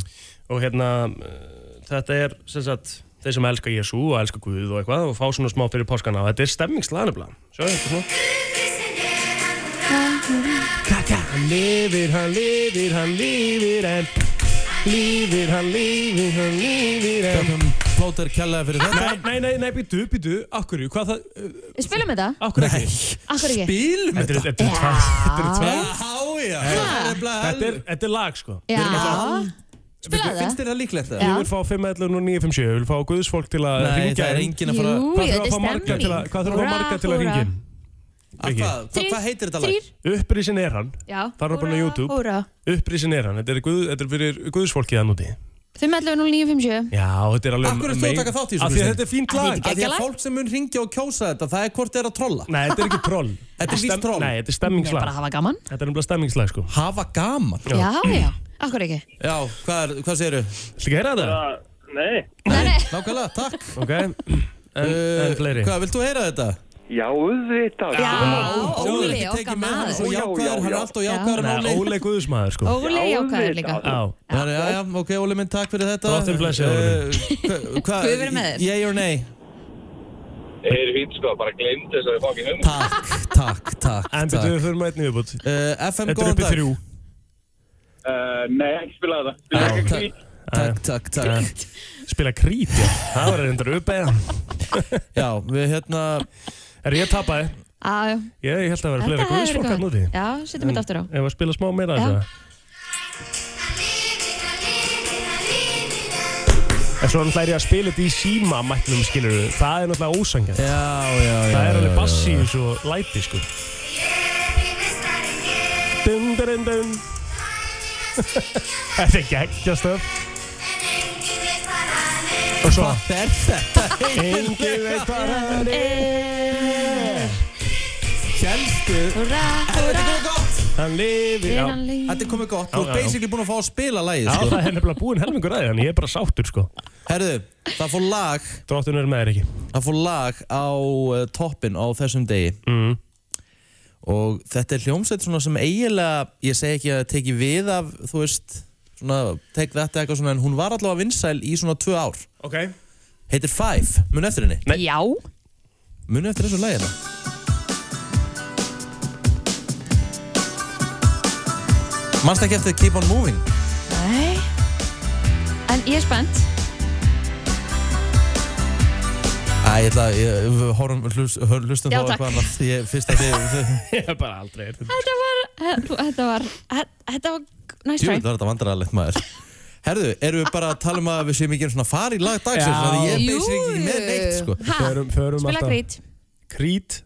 S3: og hérna, uh, þetta er sem sagt, þeir sem elska Jésu og elska Guð og eitthvað og fá svona smá fyrir páskana og þetta er stemmingslagnefla Sjá, þetta er svona Kaka, hann lifir, hann lifir, hann lifir en Lifir, hann lifir, hann lifir en
S1: Plóter kjallaði fyrir þetta
S3: Nei, nei, nei, nei, býtu, býtu, akkurju, hvað það, uh,
S2: við spilum þetta
S3: akkur ekki?
S2: Akkur ekki
S1: Bíl með
S3: Þetta er, þetta er tvær, þetta er tvær,
S1: Já, já Þetta
S3: þetta er, þetta er lag, sko.
S2: Já, spilaðu það
S1: Finnst þér það líklegt það?
S2: Já.
S3: Ég vil fá 511 og 957, ég vil fá guðsfólk til að
S1: Nei,
S3: ringja
S1: það er
S3: inn.
S1: engin að fara
S2: Jú.
S3: Hvað
S2: þetta er
S3: þurfa að fá marga til að,
S2: stemning.
S3: hvað þurfa að fá
S2: Húrra,
S3: marga til að
S2: húrra.
S3: ringja inn?
S1: Að
S3: Ekki.
S1: Hvað, hvað, hvað heitir þetta lag?
S2: Þrýr,
S3: Upprisin er hann,
S2: já
S3: Farðu bara á
S2: húrra,
S3: YouTube.
S2: Húrra
S3: upprisin er hann, þetta er, guð, þetta er fyrir guðsfólkið hann úti.
S2: 511-0957
S3: Já, þetta er alveg...
S1: Af hverju ert þú að taka þátt í þessu,
S3: Af því að
S1: Kristín?
S3: þetta er
S2: Af
S3: fínt
S2: því
S3: lag.
S1: Af
S2: þetta
S1: því að
S2: Gekkjalag?
S1: fólk sem mun ringja og kjósa þetta, það er hvort þeir eru að trolla
S3: Nei, þetta er ekki troll.
S1: Þetta er víst
S3: Stem-
S1: troll.
S3: Nei,
S2: Ég er
S3: þetta er
S2: bara
S3: stemmingslag.
S2: að hafa gaman
S3: Þetta er nefnilega stemmingslag, sko.
S1: Hafa gaman
S3: Já.
S2: Já, já, akkur ekki
S1: Já, hvað, er- hvað segirðu?
S3: Þetta er þetta?
S5: Nei,
S2: Nei, nei,
S1: Nákvæmlega, takk Eh,
S3: Ok. En, en fleiri.
S1: Hvað, vilt þú heyra þetta?
S5: já, auðvitað.
S2: já,
S1: Óli,
S2: Óli,
S1: ekki
S2: okkar
S1: tekið með hann er
S2: maður
S1: svo
S5: Já, já,
S1: jákvæður, hann er
S5: já.
S1: alltaf jákvæður
S3: Nei,
S1: Óli
S3: Óli er guðsmaður, sko.
S2: Óli,
S5: Já,
S2: jákvæður líka
S5: auðvitað.
S3: Já.
S1: Það er, já, já, ok, Óli minn, takk fyrir þetta
S3: Drottinn blessi, Óli minn.
S1: minn Hvað,
S2: Guð veri með þér.
S1: ég or nei?
S6: Það er fínt sko, bara glemt þessari fokkin hugmynd.
S1: Takk, takk, takk,
S3: En betur
S1: takk
S3: við fyrir maður einnig viðbútt.
S1: Uh, FM,
S3: Þetta er
S1: góðan
S3: uppið
S1: dag
S3: þrjú.
S6: Uh, nei, ekki spila þetta.
S1: Já,
S6: Spila ekki
S1: takk.
S6: krít.
S1: Takk, takk, takk
S3: Spila krít, já. Það var reyndar uppið.
S1: Já, við hérna
S3: Er ég tapaði?
S2: Já, já,
S3: Ég, ég held að vera
S2: þetta
S3: fleira
S2: hefur verið
S3: guðsfólk hann
S2: gaman
S3: úti.
S2: Já, setjum þetta aftur á
S3: Ef að spila smá meira
S2: Já.
S3: þess að En svo hann hlæri að spila þetta í síma mætnum skilur Það er náttúrulega ósangjað
S1: Já, já, já
S3: Það er
S1: já,
S3: alveg
S1: já,
S3: bassi
S1: já.
S3: eins og læti sko Dun dun dun dun Þetta er geggja stöf Og svo
S1: Hvað er þetta?
S3: Engi veit hvað hann er
S1: Kjælstu
S2: Húrra,
S1: Þetta er komið gott
S3: Hann lifi Já,
S2: húrra
S1: Þetta er komið gott
S3: Já,
S1: Þú ert
S3: já, já.
S1: basically búin að fá að spila lagið,
S3: Já,
S1: sko
S3: það er nefnilega búinn helmingur aðeins En ég er bara sáttur sko
S1: Herðu, það fór lag
S3: Dróttun er með þér ekki
S1: Það fór lag á uh, toppin á þessum degi
S3: mm.
S1: og þetta er hljómsveit svona sem eiginlega, ég segi ekki að teki við af, þú veist, svona take that eitthvað svona en hún var allavega vinsæl í svona tvö ár
S3: Ok
S1: heitir Five, mun eftir henni
S3: Nei.
S2: Já,
S1: mun eftir þessu lagi hérna Manst ekki eftir Keep on Moving
S2: nei En ég er spennt
S1: Æ, ég ætla að, ég- við horfum, hlust, hlustum þá
S2: Já, takk.
S1: eitthvað annað Ég, fyrst að þið, þið
S3: Ég hef bara aldrei heyrt þetta.
S2: Þetta var, þetta var, þetta var Nice try
S1: Djúvill var þetta vandrarlegt maður Herðu, erum við bara að tala um að við séum ekki einu svona fari í lag dagsins
S3: Já.
S1: Þannig að ég beysir ekki með neitt sko
S2: ha,
S3: Förum, förum
S2: Spila grít
S3: Krít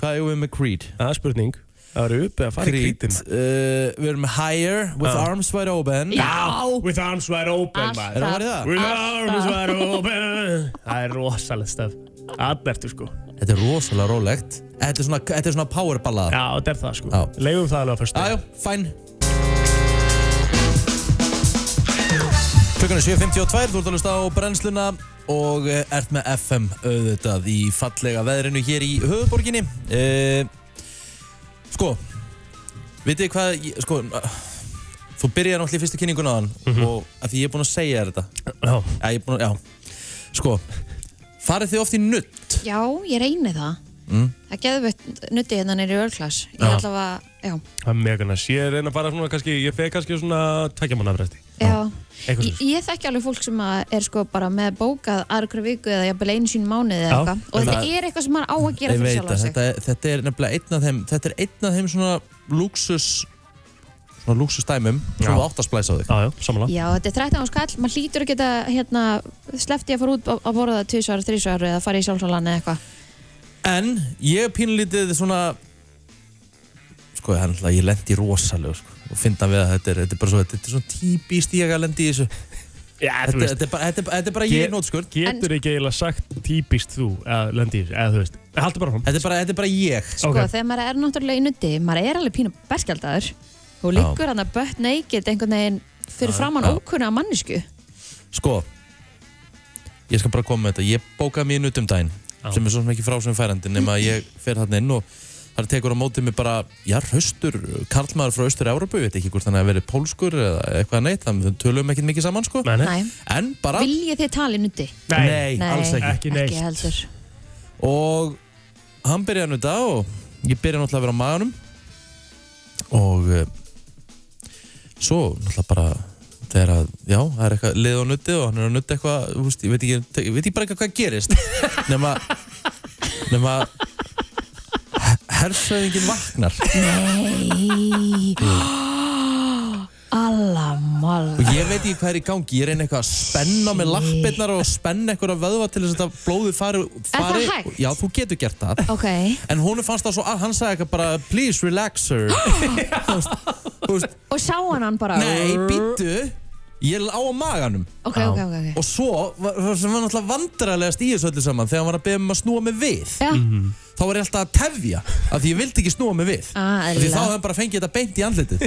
S1: Hvað eigum við með Creed?
S3: Það er spurning Það eru upp eða fara í
S1: Creed,
S3: krítin
S1: uh, við erum með Higher With
S3: Já.
S1: Arms Wide Open
S2: Já,
S3: With arms wide open
S2: Alltaf.
S1: Erum
S3: maður
S1: við farið það?
S3: With arms wide open Það er rosalegt stöf Albertu sko
S1: Þetta er rosalega rólegt Þetta er svona, þetta er svona power ballada
S3: Já, þetta er það sko
S1: Já.
S3: Leifum það alveg að fyrstu
S1: Jájá, fæn Klukkan er 7.52, þú ert að hlusta á brennsluna og eh, ert með FM auðvitað í fallega veðrinu hér í höfuborginni. E, sko, vitið þið hvað, ég- sko, eh, þú byrjaði náttúrulega í fyrstu kynninguna á hann og að því ég er búinn að segja þér þetta.
S3: Já
S1: Já, ég er búinn að, já. Sko, farið þið oft í nutt?
S2: já, ég reyni það
S1: Mm.
S2: Það getur við nuttið hérna nýri örklass Ég
S3: Já.
S2: allavega, já,
S3: Það er mega næst Ég er einn að fara svona kannski Ég feg kannski svona Tækja manna fresti
S2: já
S3: Eitthvað
S2: Ég,
S3: svo
S2: ég þekki alveg fólk sem að er sko bara með bókað aðra viku eða jafnvel einu sín mánuði eða
S3: Já,
S2: eitthvað og
S1: en
S2: þetta
S1: það-
S2: er eitthvað sem maður á að gera
S1: Ég
S2: fyrir
S1: veit
S2: sjálf
S1: að
S2: sig
S1: þetta, þetta er nefnilega einn af þeim, þetta er einn af þeim svona luxus, svona luxusdæmum sem
S3: Já.
S1: þú átt að splæsa á þig.
S3: Já, já, samanlega
S2: Já, þetta er 13 ára skall, maður hlýtur að geta hérna, slefti að fara út að borða það 2 ára, 3 ára eða fara í sjálfsalan eða eitthvað
S1: En ég er pínlítið svona Sko, það er náttúrulega, ég lendi rosalega sko, og finna við að þetta er, þetta er bara svo þetta er svona típist ég að lendi í þessu þetta,
S3: Já, þú veist
S1: þetta, er, bara, þetta, er, þetta er bara
S3: Ég-
S1: ég í nótskurn
S3: Getur ekki eiginlega sagt típist þú að lendi í þessu, eða þú veist Haldur bara fram
S1: þetta er bara, þetta er bara ég
S2: Sko, þegar maður er náttúrulega í nutti, maður er alveg pínu berskjaldadur og liggur hann að bött neikið einhvern veginn fyrir framann
S1: já.
S2: ókunna mannisku
S1: Sko, ég skal bara koma með þetta ég bókaði mér nutum um daginn
S3: Já.
S1: sem er svo sem ekki frá sem færandi nema að ég fer þarna inn og þar tekur á mótið mig bara já, hraustur, eh, karlmaður frá austur Európu ég veit ekki hvort hann hefur verið pólskur eða eitthvað neitt, þannig að tölum ekki mikið saman sko
S3: Nei,
S2: Nei,
S1: en bara,
S2: viljið þið tala í nutti?
S3: nei,
S1: nei, alls ekki
S3: Ekki neitt.
S2: Ekki heldur
S1: og hann byrjaði nú þetta og ég byrjaði náttúrulega að vera á maganum og uh, svo náttúrulega bara þegar að, já, það er eitthvað lið á nutti og hann er að nutti eitthvað, þú veist, ég veit ekki, ég veit ekki bara eitthvað hvað gerist nema nema herrsöðingin vaknar
S2: Nei Allamal
S1: og ég veit ekki hvað er í gangi, ég reyni eitthvað að spenna með lappirnar og spenna eitthvað að vöðva til þess að þetta blóði fari,
S2: það
S1: fari
S2: hægt?
S1: já, þú getur gert það
S2: Ok,
S1: En hún fannst það svo að, hann sagði eitthvað bara Please relax her Þú veist, þú veist,
S2: og sá hann hann bara
S1: Nei, býttu Ég lá á maganum
S2: Ok, ok, ok, ok
S1: Og svo, var- var- sem var náttúrulega vandrarlegast í þessu öllu saman Þegar hann var að beða um að snúa mig við
S2: Já,
S1: Þá var ég alltaf að tefja Af því ég vildi ekki snúa mig við
S2: Ah,
S1: Af Því
S2: eðlilega.
S1: þá hefði hann bara fengið þetta beint í andlitið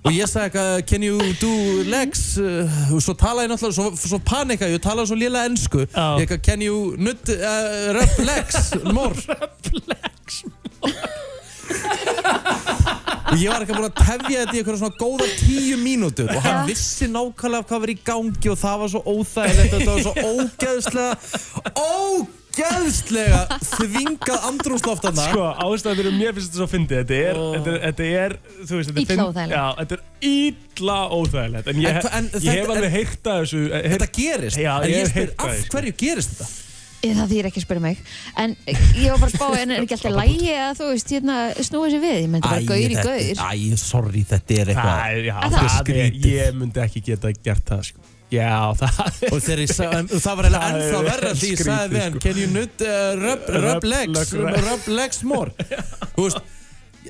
S1: Og ég sagði eitthvað "Uh, Can you do legs uh, og Svo talaði ég náttúrulega, svo, svo panika ég og Talaði svo lélega ensku Ég
S3: Já.
S1: eitthvað, Can you nut, uh, rub legs more Og ég var eitthvað búin að tefja þetta í eitthvað svona góða tíu mínútur og hann vissi nákvæmlega hvað var í gangi og það var svo óþægilegt þetta var svo ógeðslega ógeðslega þvingað andrúmsloft hann
S3: Sko, ástæðan fyrir mér finnst þetta svo fyndið Þetta er, þetta, er- þetta er, þú veist þetta er
S2: Illa
S3: fynd-
S2: óþægilegt.
S3: Já, þetta er ítla óþægilegt En ég,
S1: En hva- en
S3: ég
S1: þetta
S3: hef
S1: er-
S3: alveg heyrt að þessu eh,
S1: Þetta
S3: heyrt-
S1: gerist,
S3: Já,
S1: en
S3: ég
S1: ég
S3: hef
S1: spyr
S3: heyrt það,
S1: af
S3: sko.
S1: hverju gerist þetta?
S2: Ég, það þýr ekki að spyrja mig En ég var bara að spá En er ekki alltaf lægi að þú veist hérna, Snúið sér við, ég myndi bara gaur í
S1: þetta- Æ,
S2: gaur
S1: sorry, þetta er eitthvað
S3: Æ, já,
S2: En það-
S3: það er,
S1: Skrítið.
S3: ég myndi ekki geta gert það sko. Já, það er
S1: Og þegar ég sagði, en það var eiginlega
S3: Það er
S1: ennþá verra því ég
S3: skrítið,
S1: sagði við hann
S3: sko.
S1: Can you nut, uh, rub,
S3: Rub
S1: rub legs,
S3: leg-
S1: rub legs more Þú veist,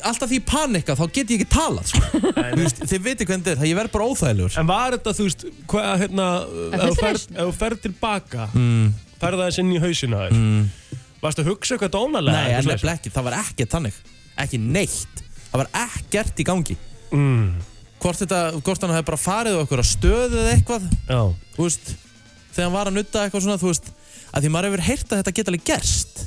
S1: alltaf því ég panika þá get ég ekki talað sko. Þú veist, Þið viti hvernig þetta er, það ég verð bara óþægilegur
S3: En var þetta, þú veist, hvað, hérna
S2: Er
S3: Ef þú
S2: fullt
S3: ferð-
S2: reisn?
S3: ef þú ferð tilbaka mm. Ferð það inn í hausina þér Varstu að hugsa eitthvað dónalega?
S1: Nei, en nefnilega ekki, það var ekkert þannig Ekki neitt, það var ekkert í gangi
S3: mm.
S1: Hvort, þetta, hvort hann hefði bara farið á okkur að stöðu eða eitthvað
S3: Já,
S1: Þú veist, þegar hann var að nutta eitthvað svona Þú veist, að því maður hefur heyrt að þetta geta alveg gerst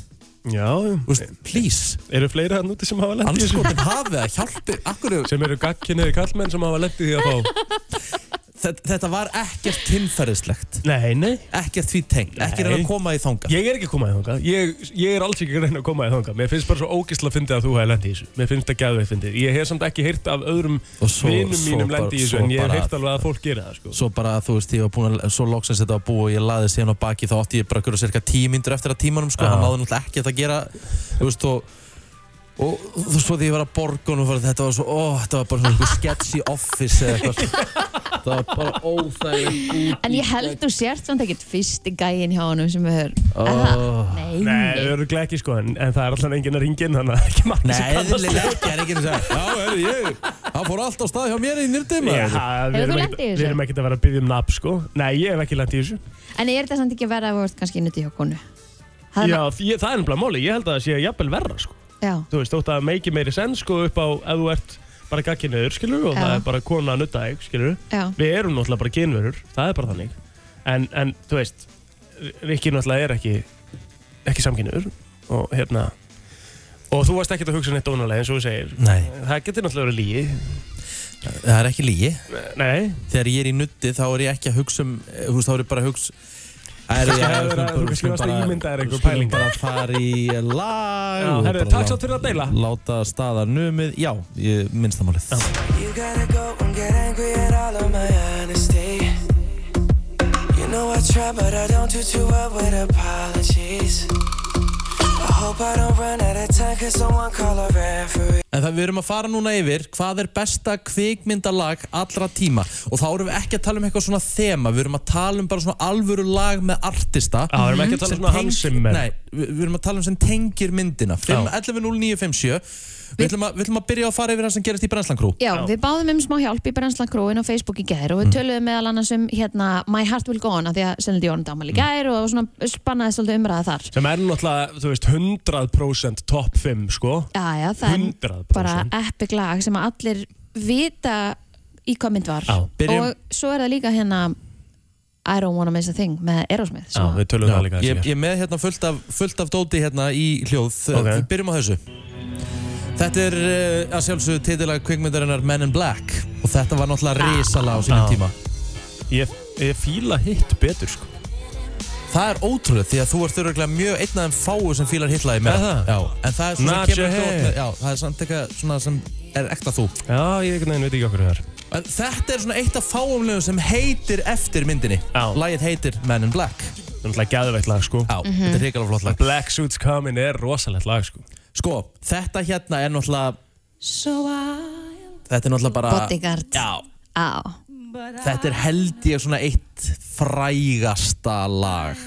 S3: Já,
S1: Þú veist, please,
S3: eru fleiri hann úti sem hafa lendið þessu?
S1: anskotin hafið að hjálpi Akkur,
S3: Sem eru gagkinniði kallmenn sem hafa lendið því að fá
S1: þetta, þetta var ekkert kynferðislegt
S3: Nei, nei
S1: Ekkert því tengt, ekki reyna
S3: Nei.
S1: að koma í þanga
S3: Ég er ekki að koma í þangað, ég, ég er alls ekki að reyna að koma í þangað Mér finnst bara svo ógisla að fyndi að þú hefði lendið í þessu Mér finnst það gæðveitt fyndið Ég hef samt ekki heyrt af öðrum
S1: Og svo-
S3: vinum
S1: svo
S3: mínum
S1: bara-
S3: lendið í
S1: svo
S3: þessu En ég hef
S1: bara-
S3: heyrt alveg að fólk gera það sko.
S1: Svo bara, þú veist, ég var búin að, svo loksins þetta var búið og ég laði síðan á baki þá átti ég bara að gera cirka tíu myndur eftir að tímanum, sko,
S3: Já.
S1: hann náði náttúrulega ekkert að gera, þú veist, og, og þú veist, svo því ég var að borgunum fyrir þetta var svo, ó, þetta var bara svona einhver sketchy office eða eitthvað, það var bara óþægilegt út
S2: En
S1: í
S2: ég held þú sért samt ekkert fyrsti gæinn hjá honum sem er
S1: Ó.
S2: oh. Nei,
S3: Nei,
S2: nei,
S3: það eru ekki sko En, en það er alltaf enginn að ringin Þannig að ekki margir
S1: Nei,
S3: sem kannast
S1: eðlilega ekki, það er ekki að segja, já, herru, ég, það fór allt á stað hjá mér í nýrdim,
S3: Já, við
S2: Hefur
S3: erum
S2: þú
S3: ekkert-
S2: lent í þessu?
S3: Við erum ekkert að vera að byggja um nafn sko Nei, ég hef ekki lendið í þessu
S2: En er þetta samt ekki verið að þú ert kannski nuti hjá konu? Það
S3: Já, ég, það er nefnilega máli, ég held að það sé jafnvel verra sko.
S2: já.
S3: Þú veist, þótt að meiki meiri senn sko upp á ef þú ert bara gagkinniður, skilur og
S2: Já.
S3: það er bara kona að nutta þig, skilur
S2: Já.
S3: Við erum náttúrulega bara kynverur, það er bara þannig En, en þú veist, Rikki náttúrulega er ekki ekki samkynniður og hérna og þú varst ekkert að hugsa neitt dónalega eins og þú segir
S1: Nei,
S3: Það getur náttúrulega verið lígi
S1: það er ekki lígi,
S3: Nei,
S1: þegar ég er í nutti þá er ég ekki að hugsa um, eh, þú veist, þá er ég bara að hugsa Það
S3: Kannski hefur verið að- þú kannski varst að ímynda þér einhver pæling.
S1: um bara að fara í lag
S3: Já,
S1: og
S3: herru,
S1: bara
S3: takk
S1: lá-
S3: samt fyrir að deila.
S1: Láta staðar numið, já, ég minnst það málið
S7: You gotta go and get angry at all of my honesty. You know I try, but I don't do too well with apologies. I hope I don't run out of time, cause someone call a referee.
S1: En það við erum að fara núna yfir hvað er besta kvikmyndalag allra tíma og þá erum við ekki að tala um eitthvað svona þema við erum að tala um bara svona alvöru lag með artista
S3: Já, við erum ekki að tala um svona Hans Zimmer.
S1: Nei, við, við erum að tala um sem tengir myndina 5, 11, 0, 9, 5, 7 Við ætlum að, við ætlum að byrja að fara yfir það sem gerist í Brennslangrú
S2: Já, við báðum um smá hjálp í Brennslan Króin á Facebook í gær og við töluðum meðal annars um hérna My Heart Will Go On af því að Senildi Jón dámal í gær og svona spannaði svolítið umræða þar
S3: sem er náttúrulega, þú veist, 100% top 5 sko
S2: Já, já, það er
S3: 100%.
S2: bara epic lag sem að allir vita í hvað mynd var
S3: Já,
S1: byrjum-
S2: og svo er það líka hérna I don't wanna miss a thing með Aerosmith
S3: Já,
S2: sem að-
S3: við tölum það líka
S1: ég,
S3: þessi.
S1: ég er með hérna fullt af, fullt af dóti hérna í hljóð
S3: Ok.
S1: Við byrjum á þessu Þetta er uh, að sjálfsögðu titilag kvikmyndarinnar Men in Black og þetta var náttúrulega
S3: Ah.
S1: risala á sínum
S3: Já.
S1: tíma
S3: Ég, ég fíla hitt betur sko
S1: Það er ótrúlega því að þú ert öruglega mjög einn af þeim fáu sem fílar hitlaði með
S3: Er það?
S1: Já, en það er svona sem
S3: Not
S1: kemur
S3: your
S1: ekki
S3: hair.
S1: ótt Já, það er samt eitthvað svona sem er ekta þú
S3: Já, ég einhvern veginn veit ekki okkur það er
S1: en Þetta er svona eitt af fáum lögum sem heitir eftir myndinni
S3: Já.
S1: Lagið heitir Men in Black
S3: Það er náttúrulega gæðveitt lag sko
S1: Já, þetta er hrikalega flott lag
S3: Black Suits Coming er rosalegt lag sko
S1: Sko, þetta hérna er náttúrulega
S2: So I
S1: Þetta er náttúrulega bara
S2: Bodyguard.
S1: Já,
S2: Á,
S1: þetta er held ég svona eitt frægasta lag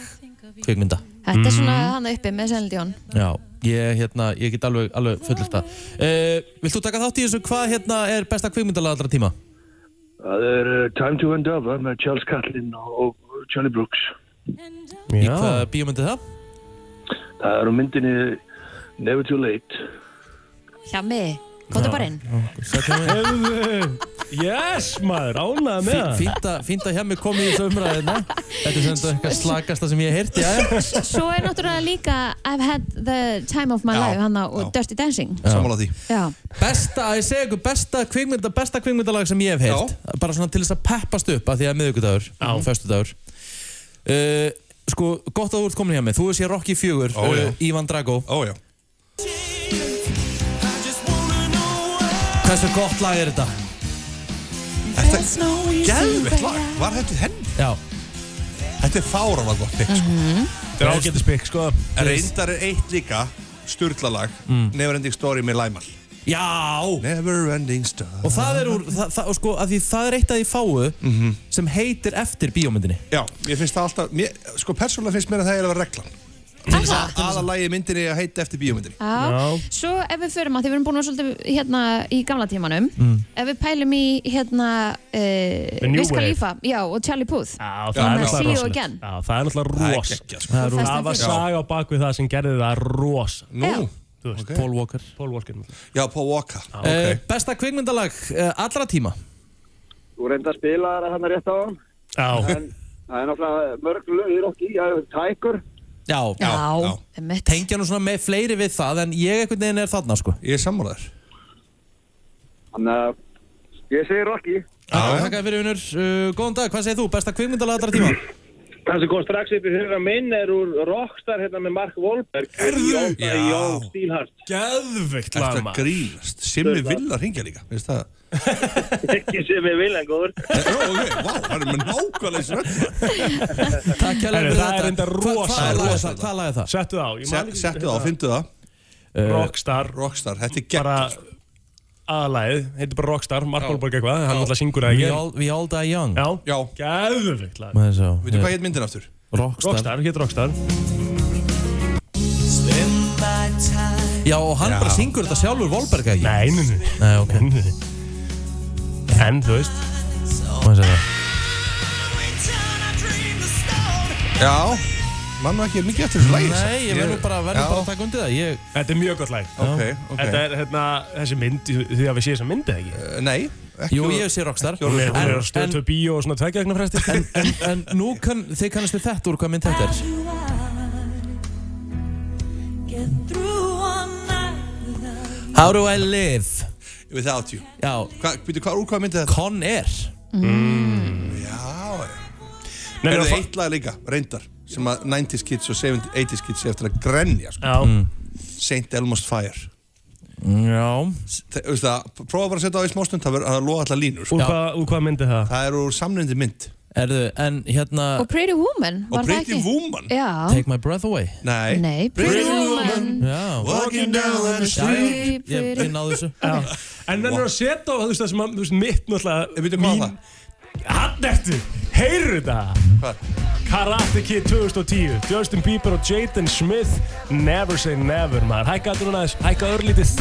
S1: Kvikmynda
S2: þetta er svona hann uppi með Senildi Jón
S1: Já, ég, hérna, ég get alveg, alveg fullist það uh, Vilt þú taka þátt í þessu hvað hérna er besta kvikmyndalag allra tíma?
S5: Það er uh, Time to End Over með Charles Catlin og, og Johnny Brooks.
S1: Í hvað bíómyndi er það?
S5: Það er á myndinni Never Too Late.
S2: Hjami, komðu bara inn
S3: Yes maður, ánæða með það
S1: Fínt að- Fínt að hjá mig komið í þessu umræðina Þetta er sem þetta eitthvað slagasta sem ég hef heyrt, já
S2: Svo er náttúrulega líka I've had the time of my life hann á og Dirty Dancing
S8: Sammála því
S2: Já,
S1: Besta, ég segi ykkur, besta kvikmynda, besta kvikmyndalag sem ég hef heyrt Bara svona til þess að peppast upp að því að miðugudagur, föstudagur uh, Sko, gott að þú ert komin hjá mig Þú er sér Rocky 4,
S8: Ó, já.
S1: uh, Ivan Drago
S8: Ó já
S1: Hversu gott lag er þetta?
S8: Þetta er gæðvitt lag Var þetta henni?
S1: Já,
S8: Þetta er fáránlega gott pick sko.
S3: Þetta er ágættis pikk sko
S8: Reyndar er eitt líka Sturla lag Never Ending Story með Læmal
S1: já
S8: Never Ending Story
S1: Og það er úr, það, það, og sko, að því það er eitt af því fáu sem heitir eftir bíómyndinni.
S8: Já, ég finnst það alltaf mér, Sko persónulega finnst mér að það er að vera reglan Til þess að aðalagi myndinni að heita eftir bíómyndinni
S2: Já. Svo ef við förum að því við erum búin að vera svolítið hérna í gamla tímanum
S8: Mm.
S2: ef við pælum í hérna uh,
S3: New
S2: Wiz
S3: Wave.
S2: Khalifa já, og Charlie Puth
S3: Já, það
S8: Já,
S3: er
S8: með
S3: náttúrulega
S2: See You
S3: rosalegt
S2: Again.
S3: Já, það er náttúrulega
S8: Það er
S3: rosa
S8: geggjað, sko.
S1: er úr-
S2: Fast
S3: Það
S2: and
S3: var
S2: Furious.
S3: saga á bakvið það sem gerði það rosa
S8: Nú,
S2: Já.
S3: Þú veist,
S8: ok.
S1: Paul Walker.
S3: Paul Walker náttúrulega.
S8: Já, Paul Walker
S1: Okay.
S8: Ah, Ok.
S1: Eh, besta kvikmyndalag uh, allra tíma.
S5: Þú reynda að spila það hann rétt á hann.
S3: Já,
S5: En það er náttúrulega mörg lögir okki. Það er Tiger,
S1: Já,
S2: Já,
S8: já.
S2: einmitt.
S1: Tengja nú svona með fleiri við það en ég einhvern veginn er þarna sko
S8: Ég er sammálaður
S6: Þannig að ég segir Rocky.
S1: Takk fyrir vinnur, uh, góðan dag, hvað segir þú? Besta kvikmyndalatara tíma?
S6: Það sem kom strax upp í huga minn er úr Rockstar hérna með Mark Wahlberg. Erðu?
S8: Já.
S6: Jó, stílhart.
S3: Geðveikt
S8: Ertu
S3: lag
S8: að
S3: maður
S8: grínast? Simmi Villa hringja líka, veist það?
S6: Ekki sem er viljan góður.
S8: Jó, ok, vá, það er með nákvæmlega srönd
S1: Takk hjá fyrir
S3: Herru, það er
S1: þetta
S3: reyndar
S1: Hva- Hvað
S3: rosa-
S1: laga
S8: rosa-
S1: það? Hvað laga það?
S3: Settu það á ég man ekki-
S8: Settu það á, fyndu það
S3: Rockstar
S8: Rockstar, þetta er
S3: Bara
S8: gegn
S3: aðalæð Heitir bara Rockstar Mark Wahlberg eitthvað Hann alltaf syngur það
S1: We
S3: ekki
S1: all, we all die young
S3: Já,
S8: Já.
S3: geðveikt lag
S1: Það er svo,
S8: Veitu hvað hétt myndin aftur?
S1: Eh, Rockstar.
S3: Rockstar, hétt Rockstar
S1: Já, og hann bara syngur þetta sjálfur Volberg ekki?
S3: Nei, nei, nei,
S1: Nei, ok
S3: nei En þú veist
S1: Hvað segir það?
S8: Já Mann var ekki mikið eftir þessu lægi
S1: Nei, ég verður bara, verður
S8: Já.
S1: bara að taka undir það Ég,
S3: Þetta er mjög gott lag
S8: Ok, ok
S3: Þetta er hérna þessi mynd Því að við séum þessa myndið ekki
S8: Eh, Nei, ekki
S1: jú, ég sé Rockstar
S3: Hún
S1: En,
S3: er- hún er að
S1: en,
S3: stöðtöð bíó og svona tveggjögnar fresti
S1: en, en, en nú kann, þið kannast við þetta úr hvað mynd þetta er How do I live?
S8: Without you
S1: Já,
S8: Hvað, býtu, hvað, úr hvað myndi þetta?
S1: Con Air
S8: Já, já
S3: Nei,
S8: Er
S3: við
S8: það
S3: fá-
S8: eitt lag líka, reyndar sem að 90's kids og 70's, 80's kids sé eftir að grenja, sko.
S3: Já,
S1: Hmm.
S8: St. Elmo's Fire
S1: Já,
S8: Þe- Þú veist það, prófa bara að setja á í smástund það verður að loga allar línur, sko.
S3: úr hvað hva myndið það?
S8: Það er úr samlindi mynd
S1: erðu, en hérna
S2: Og Pretty Woman,
S8: Og
S2: var það
S8: Pretty
S2: ekki?
S8: Woman
S2: Já,
S1: Take my breath away
S8: Nei,
S2: nei, Pretty Woman
S1: Já,
S8: Walking down the
S1: já,
S8: street
S1: ég, ég, ég náðu þessu
S3: En hann er að setja á þú veist það sem að, þú veist, mitt náttúrulega
S8: Ég veitum Eh, hvað var
S3: Hann ertu, heyrðu það
S8: Hvað?
S3: Karate Kid 2010 Justin Bieber og Jaden Smith Never say never maður Hækka aður hún aðeins, hækka örlítið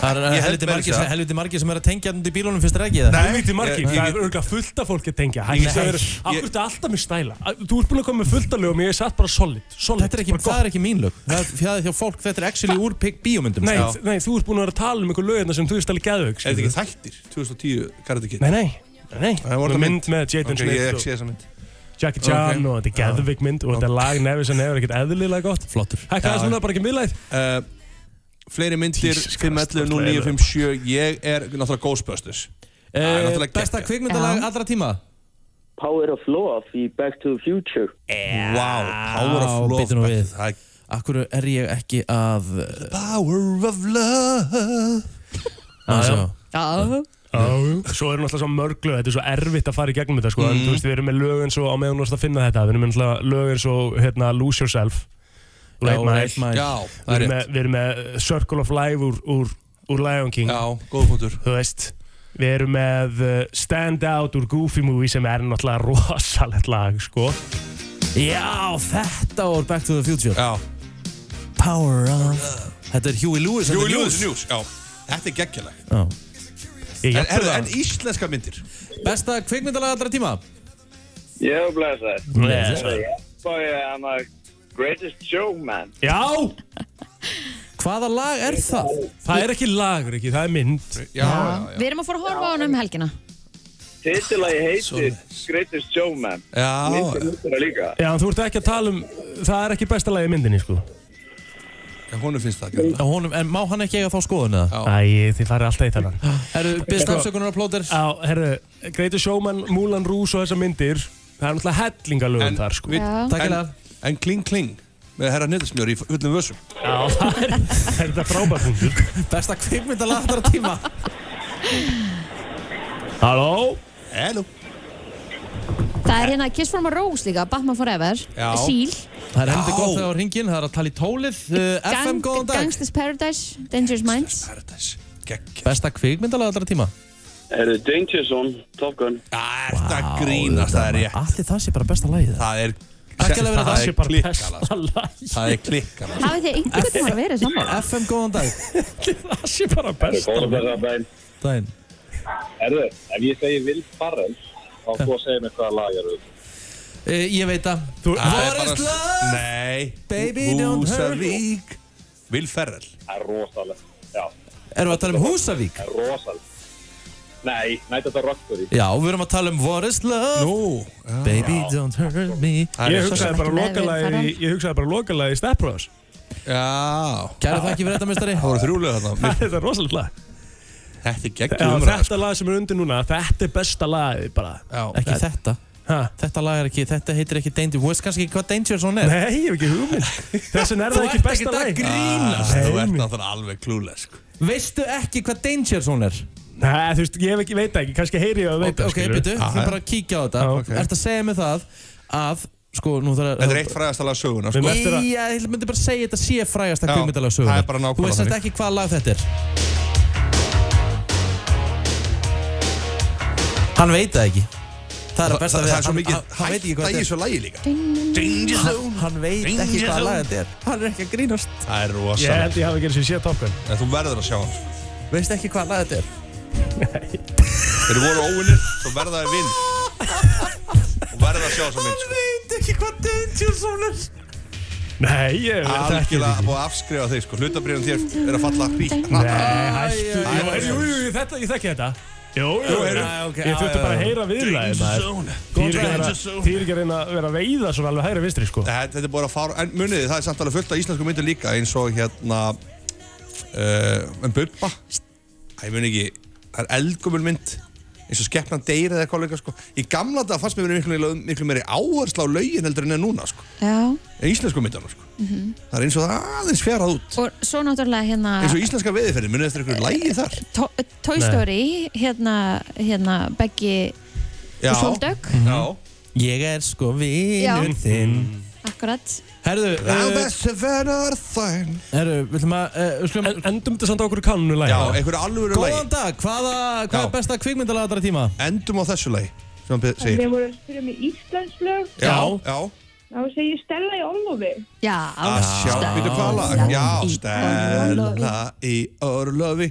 S1: Það er
S8: Ég held
S1: helviti
S8: meira
S1: margir,
S8: að
S1: sem-
S8: segja.
S1: helviti margir sem er að tengja hann í bílunum fyrst er ekki það
S3: Helviti margir,
S8: Ég- ég-
S3: það er örgulega fullt af fólki að tengja Hækka
S1: Nei.
S3: það verið, akkur þetta alltaf með stæla Þú ert búin að koma með fullt af lögum, ég er satt bara solid Solid,
S1: Þetta er ekki,
S3: bara
S1: það er ekki mín lög Það er fjæðið hjá fólk, þetta er actually úr pí- bíómyndum
S3: Nei,
S1: Já.
S3: nei, þú ert búin að vera að tala um einhver lögina sem þú veist alveg geðvöks
S8: Er þetta ekki þættir? 2010 Karate Kid
S3: Nei, nei, nei, nei
S8: Það voru
S3: Með
S8: það
S3: mynd með Jaden
S8: Ok, ég
S3: Smith
S8: ekki sé þessa mynd
S3: og Jackie Chan og þetta er geðvik mynd og þetta er lag nefnir sem nefnir ekkert eðlilega gott
S1: Flottur
S3: Hækka
S8: Já,
S3: aðeins núna bara ekki um miðlæð
S8: uh, Fleiri myndir
S3: Jesus Christ,
S8: 511 0957 Ég er náttúrulega Ghostbusters er
S1: Eh,
S8: náttúrulega
S1: Besta
S8: geggjað.
S1: kvikmyndalag
S2: Já.
S1: allra tíma
S9: Power of Love í Back to the Future
S8: Wow, Power of Love
S1: bíddu nú við.
S8: Það er
S1: Akkur er ég ekki að
S8: Power of Love Ah,
S1: að sjá.
S2: Já,
S3: Svo eru náttúrulega svo mörg lög, þetta er svo erfitt að fara í gegnum þetta sko
S8: Mm.
S3: en þú veist við erum með lög eins og á meðan þú veist að finna þetta við erum með náttúrulega lög eins og hérna Lose Yourself
S1: Já,
S3: Late Night
S1: Eitt Mile.
S8: Já, það
S3: Við
S8: er rétt
S3: erum með- við erum með uh, Circle of Life úr, úr, úr Lion King
S8: Já, góð punktur
S3: þú veist Við erum með uh, Stand Out úr Goofy Movie sem er náttúrulega rosalegt lag sko
S1: Já, þetta var Back to the Future
S8: Já
S1: Power of Þetta er Huey Lewis and the
S8: Júi
S1: News.
S8: Ljúðis News, já Þetta er geggjalag
S1: Já.
S3: Ég
S8: En,
S3: jafnvel
S8: en,
S3: það.
S8: en íslenska myndir
S1: Besta kvikmyndalag allra tíma
S6: Ég hef blæst það.
S3: Blessaður.
S6: Bói, I'm a greatest showman.
S3: Já,
S1: Hvaða lag er það?
S3: það er ekki lag, ekki, það er mynd
S8: Já,
S2: já. Við erum að fara að horfa á hann um helgina
S6: Tittilagi heitir Greatest Showman.
S8: já
S6: Myndin heitir það líka.
S3: Já, þú ert ekki að tala um, það er ekki besta lagi í myndinni, sko
S8: já Húnu finnst það geggjalag
S1: Já, Honum, en má hann ekki eiga þá skoðun eða?
S3: Æ, þið farið alltaf í þennan
S1: Erðu, byrst
S8: Sko-
S1: afsökunar á plóter
S3: Já, herru, Greater Showman, Mulan Rús og þessar myndir Það er náttúrulega hellingalögum þar, sko
S8: við-
S2: Já.
S1: Takk
S8: en-
S1: fyrir.
S8: En Kling Kling með herra nýðismjör í fullum vössum
S3: Já, það er, það er þetta frábær punktur
S1: Besta kvikmyndalag allra tíma
S3: Halló,
S8: Hello
S2: Það er hérna Kiss from a Rose líka, Batman Forever
S8: Já.
S2: Seal,
S1: Það er heldur
S8: Já.
S1: gott þegar á ringin, það er að tala í tólið uh, FM, góðan dag
S2: Gangsters Paradise Dangerous Minds
S8: Paradise Geggja
S1: Besta kvikmyndalag allra tíma
S9: Er þið Dangerson, Top Gun
S8: Það er það grínast, það er ég
S1: Allir það sé bara besta lagið það.
S8: Það er
S1: Takk hérlega fyrir
S3: það
S8: Það
S3: sé
S8: er
S3: bara
S8: klikkala
S3: besta lagi
S8: Það er klikkala sko.
S2: Hafið þið einhvern veginn að verið saman?
S1: FM, góðan dag
S3: Það sé bara besta
S6: Góða
S3: lagi
S6: blæst það, Ben.
S1: Dæn.
S6: Erðu, ef ég segi Will Farrell, þá þú að segja mér hvaða lag er auðvitað.
S1: Uh, ég veit að
S3: Þú-
S8: Það er
S1: Forest
S8: bara-
S1: Love.
S8: Nei
S1: Baby, don't hurt.
S8: Húsavík Will Ferrell
S6: Það er rosalega. Já,
S1: Erum við að tala um Húsavík?
S6: það er rosalega. Nei, nætti þetta rockstory
S1: Já, við erum að tala um What is love
S8: Nú,
S1: Baby don't hurt me
S3: Ég
S1: Kæra
S3: hugsaði bara
S2: Ekki
S3: lokalagið í,
S2: meðvitaðan.
S3: ég hugsaði bara lokalagið í Step Brothers.
S8: já
S1: þakki fyrir þetta mistari
S8: Það voru þrjúlega þarna
S3: Þetta er rosalega lag.
S8: Þetta er
S3: Já,
S8: geggjum
S3: þetta lag sem er undir núna, þetta er besta lagið bara.
S1: Ekki þetta
S3: Ha?
S1: Þetta lag er ekki, þetta heitir ekki Danger Þú veist kannski ekki hvað Danger Zone er
S3: Nei, ég hef ekki hugmynd. Þessin er það ekki besta
S1: að
S3: lagið.
S1: grínast
S8: Þú ert náttúrulega alveg klúlega sko.
S1: Veistu ekki hvað Danger Zone er?
S3: Nei, þú veist, ég hef ekki, veit það ekki, kannski heyri ég að
S1: Ok,
S3: veita,
S1: ok, býtu, við
S8: Aha.
S1: bara að kíkja á þetta
S3: Já,
S1: ah,
S3: ok.
S1: Ertu að segja mig það að Sko, nú þarf
S8: Þetta er eitt fræðast alveg söguna
S3: Við
S8: sko.
S3: með- eftir að-
S1: Ég ég myndi bara segja þetta sé frægast að
S8: Já,
S1: kvikmyndalega sögur
S8: það er bara nákvæmlega
S1: Þú veist þetta
S8: þannig.
S1: ekki hvað lag þetta er Hann veit það ekki Það er að besta
S8: Það
S1: við
S8: það er svo
S1: hann-
S8: mikið
S1: hann- Hann veit ekki hvað
S8: hætta í
S1: þetta er
S8: þessu lagi líka
S1: Hann- Hann veit ekki hvað lag þetta er Hann er ekki að grínast
S8: Það er
S3: Ég held
S8: rosalegt
S3: ég hafi ekki eins og sé Top Gun.
S8: En Þú verður að sjá hann sko.
S1: Veist ekki hvað lag þetta er
S8: Þeir voru óvinnir, svo verða þeir vinn Þú verður að sjá þess að mynd sko.
S1: Veit ekki hvað Danger Zone er
S3: Nei, ég veit það ekki.
S8: Algjörlega búið að afskrifa þig sko. Hlutabrýðan þér er að falla hrí
S3: Nei, hættu.
S8: æ, æ.
S3: Jú, Jú, jú, jú, þetta, ég þekki þetta. Jú, jú,
S1: heyrðu.
S3: já, ok,
S1: Já,
S3: ég þurfti
S1: já,
S3: bara að
S1: já.
S3: heyra viðlæðið maður. Því er ekki að vera- því er ekki að reyna að vera að veiða svona alveg hægri vinstri, sko.
S8: Þetta þetta er búið að fara En muniði, það er samt alveg fullt af íslensku myndu líka eins og hérna uh, En Bubba Æ, ég mun ekki Það er eldgumul mynd eins og skepnan deyri eða eitthvað líka sko. Í gamla þetta fannst mér verið miklu, miklu meiri áhersla á laugin heldur en er núna sko.
S2: Já,
S8: En íslensku myndana sko. Það er eins og það aðeins fjarað út
S2: og svo náttúrulega
S8: eins og
S2: hérna
S8: íslenska veðiferði munið eftir einhverju lægi þar
S2: To- uh, Toy
S3: Nei.
S2: Story, hérna, hérna Beggi
S8: Já,
S2: og Sóldögg,
S8: já.
S1: Ég er sko vinur
S2: Já.
S1: þinn
S2: akkurat.
S1: Herðu,
S8: Það
S1: uh,
S8: besti verðar þær
S1: herðu, viljum að uh, skulum,
S3: En- Endum þetta samt á okkur kannu
S8: Já,
S3: lægið.
S8: einhverju alvöru lægi
S1: Góðan dag, hvaða, hvað er
S8: Já.
S1: besta kvikmyndalega tíma?
S8: Endum á þessu lægi sem hann be- segir
S10: Við vorum að spyrja um í Íslandslög,
S8: Já, já
S10: þá segir Stella í Ólofi.
S2: Já,
S8: að sjá býtu hvað lag
S2: Stella
S8: Já,
S2: í
S8: Stella í Orlofi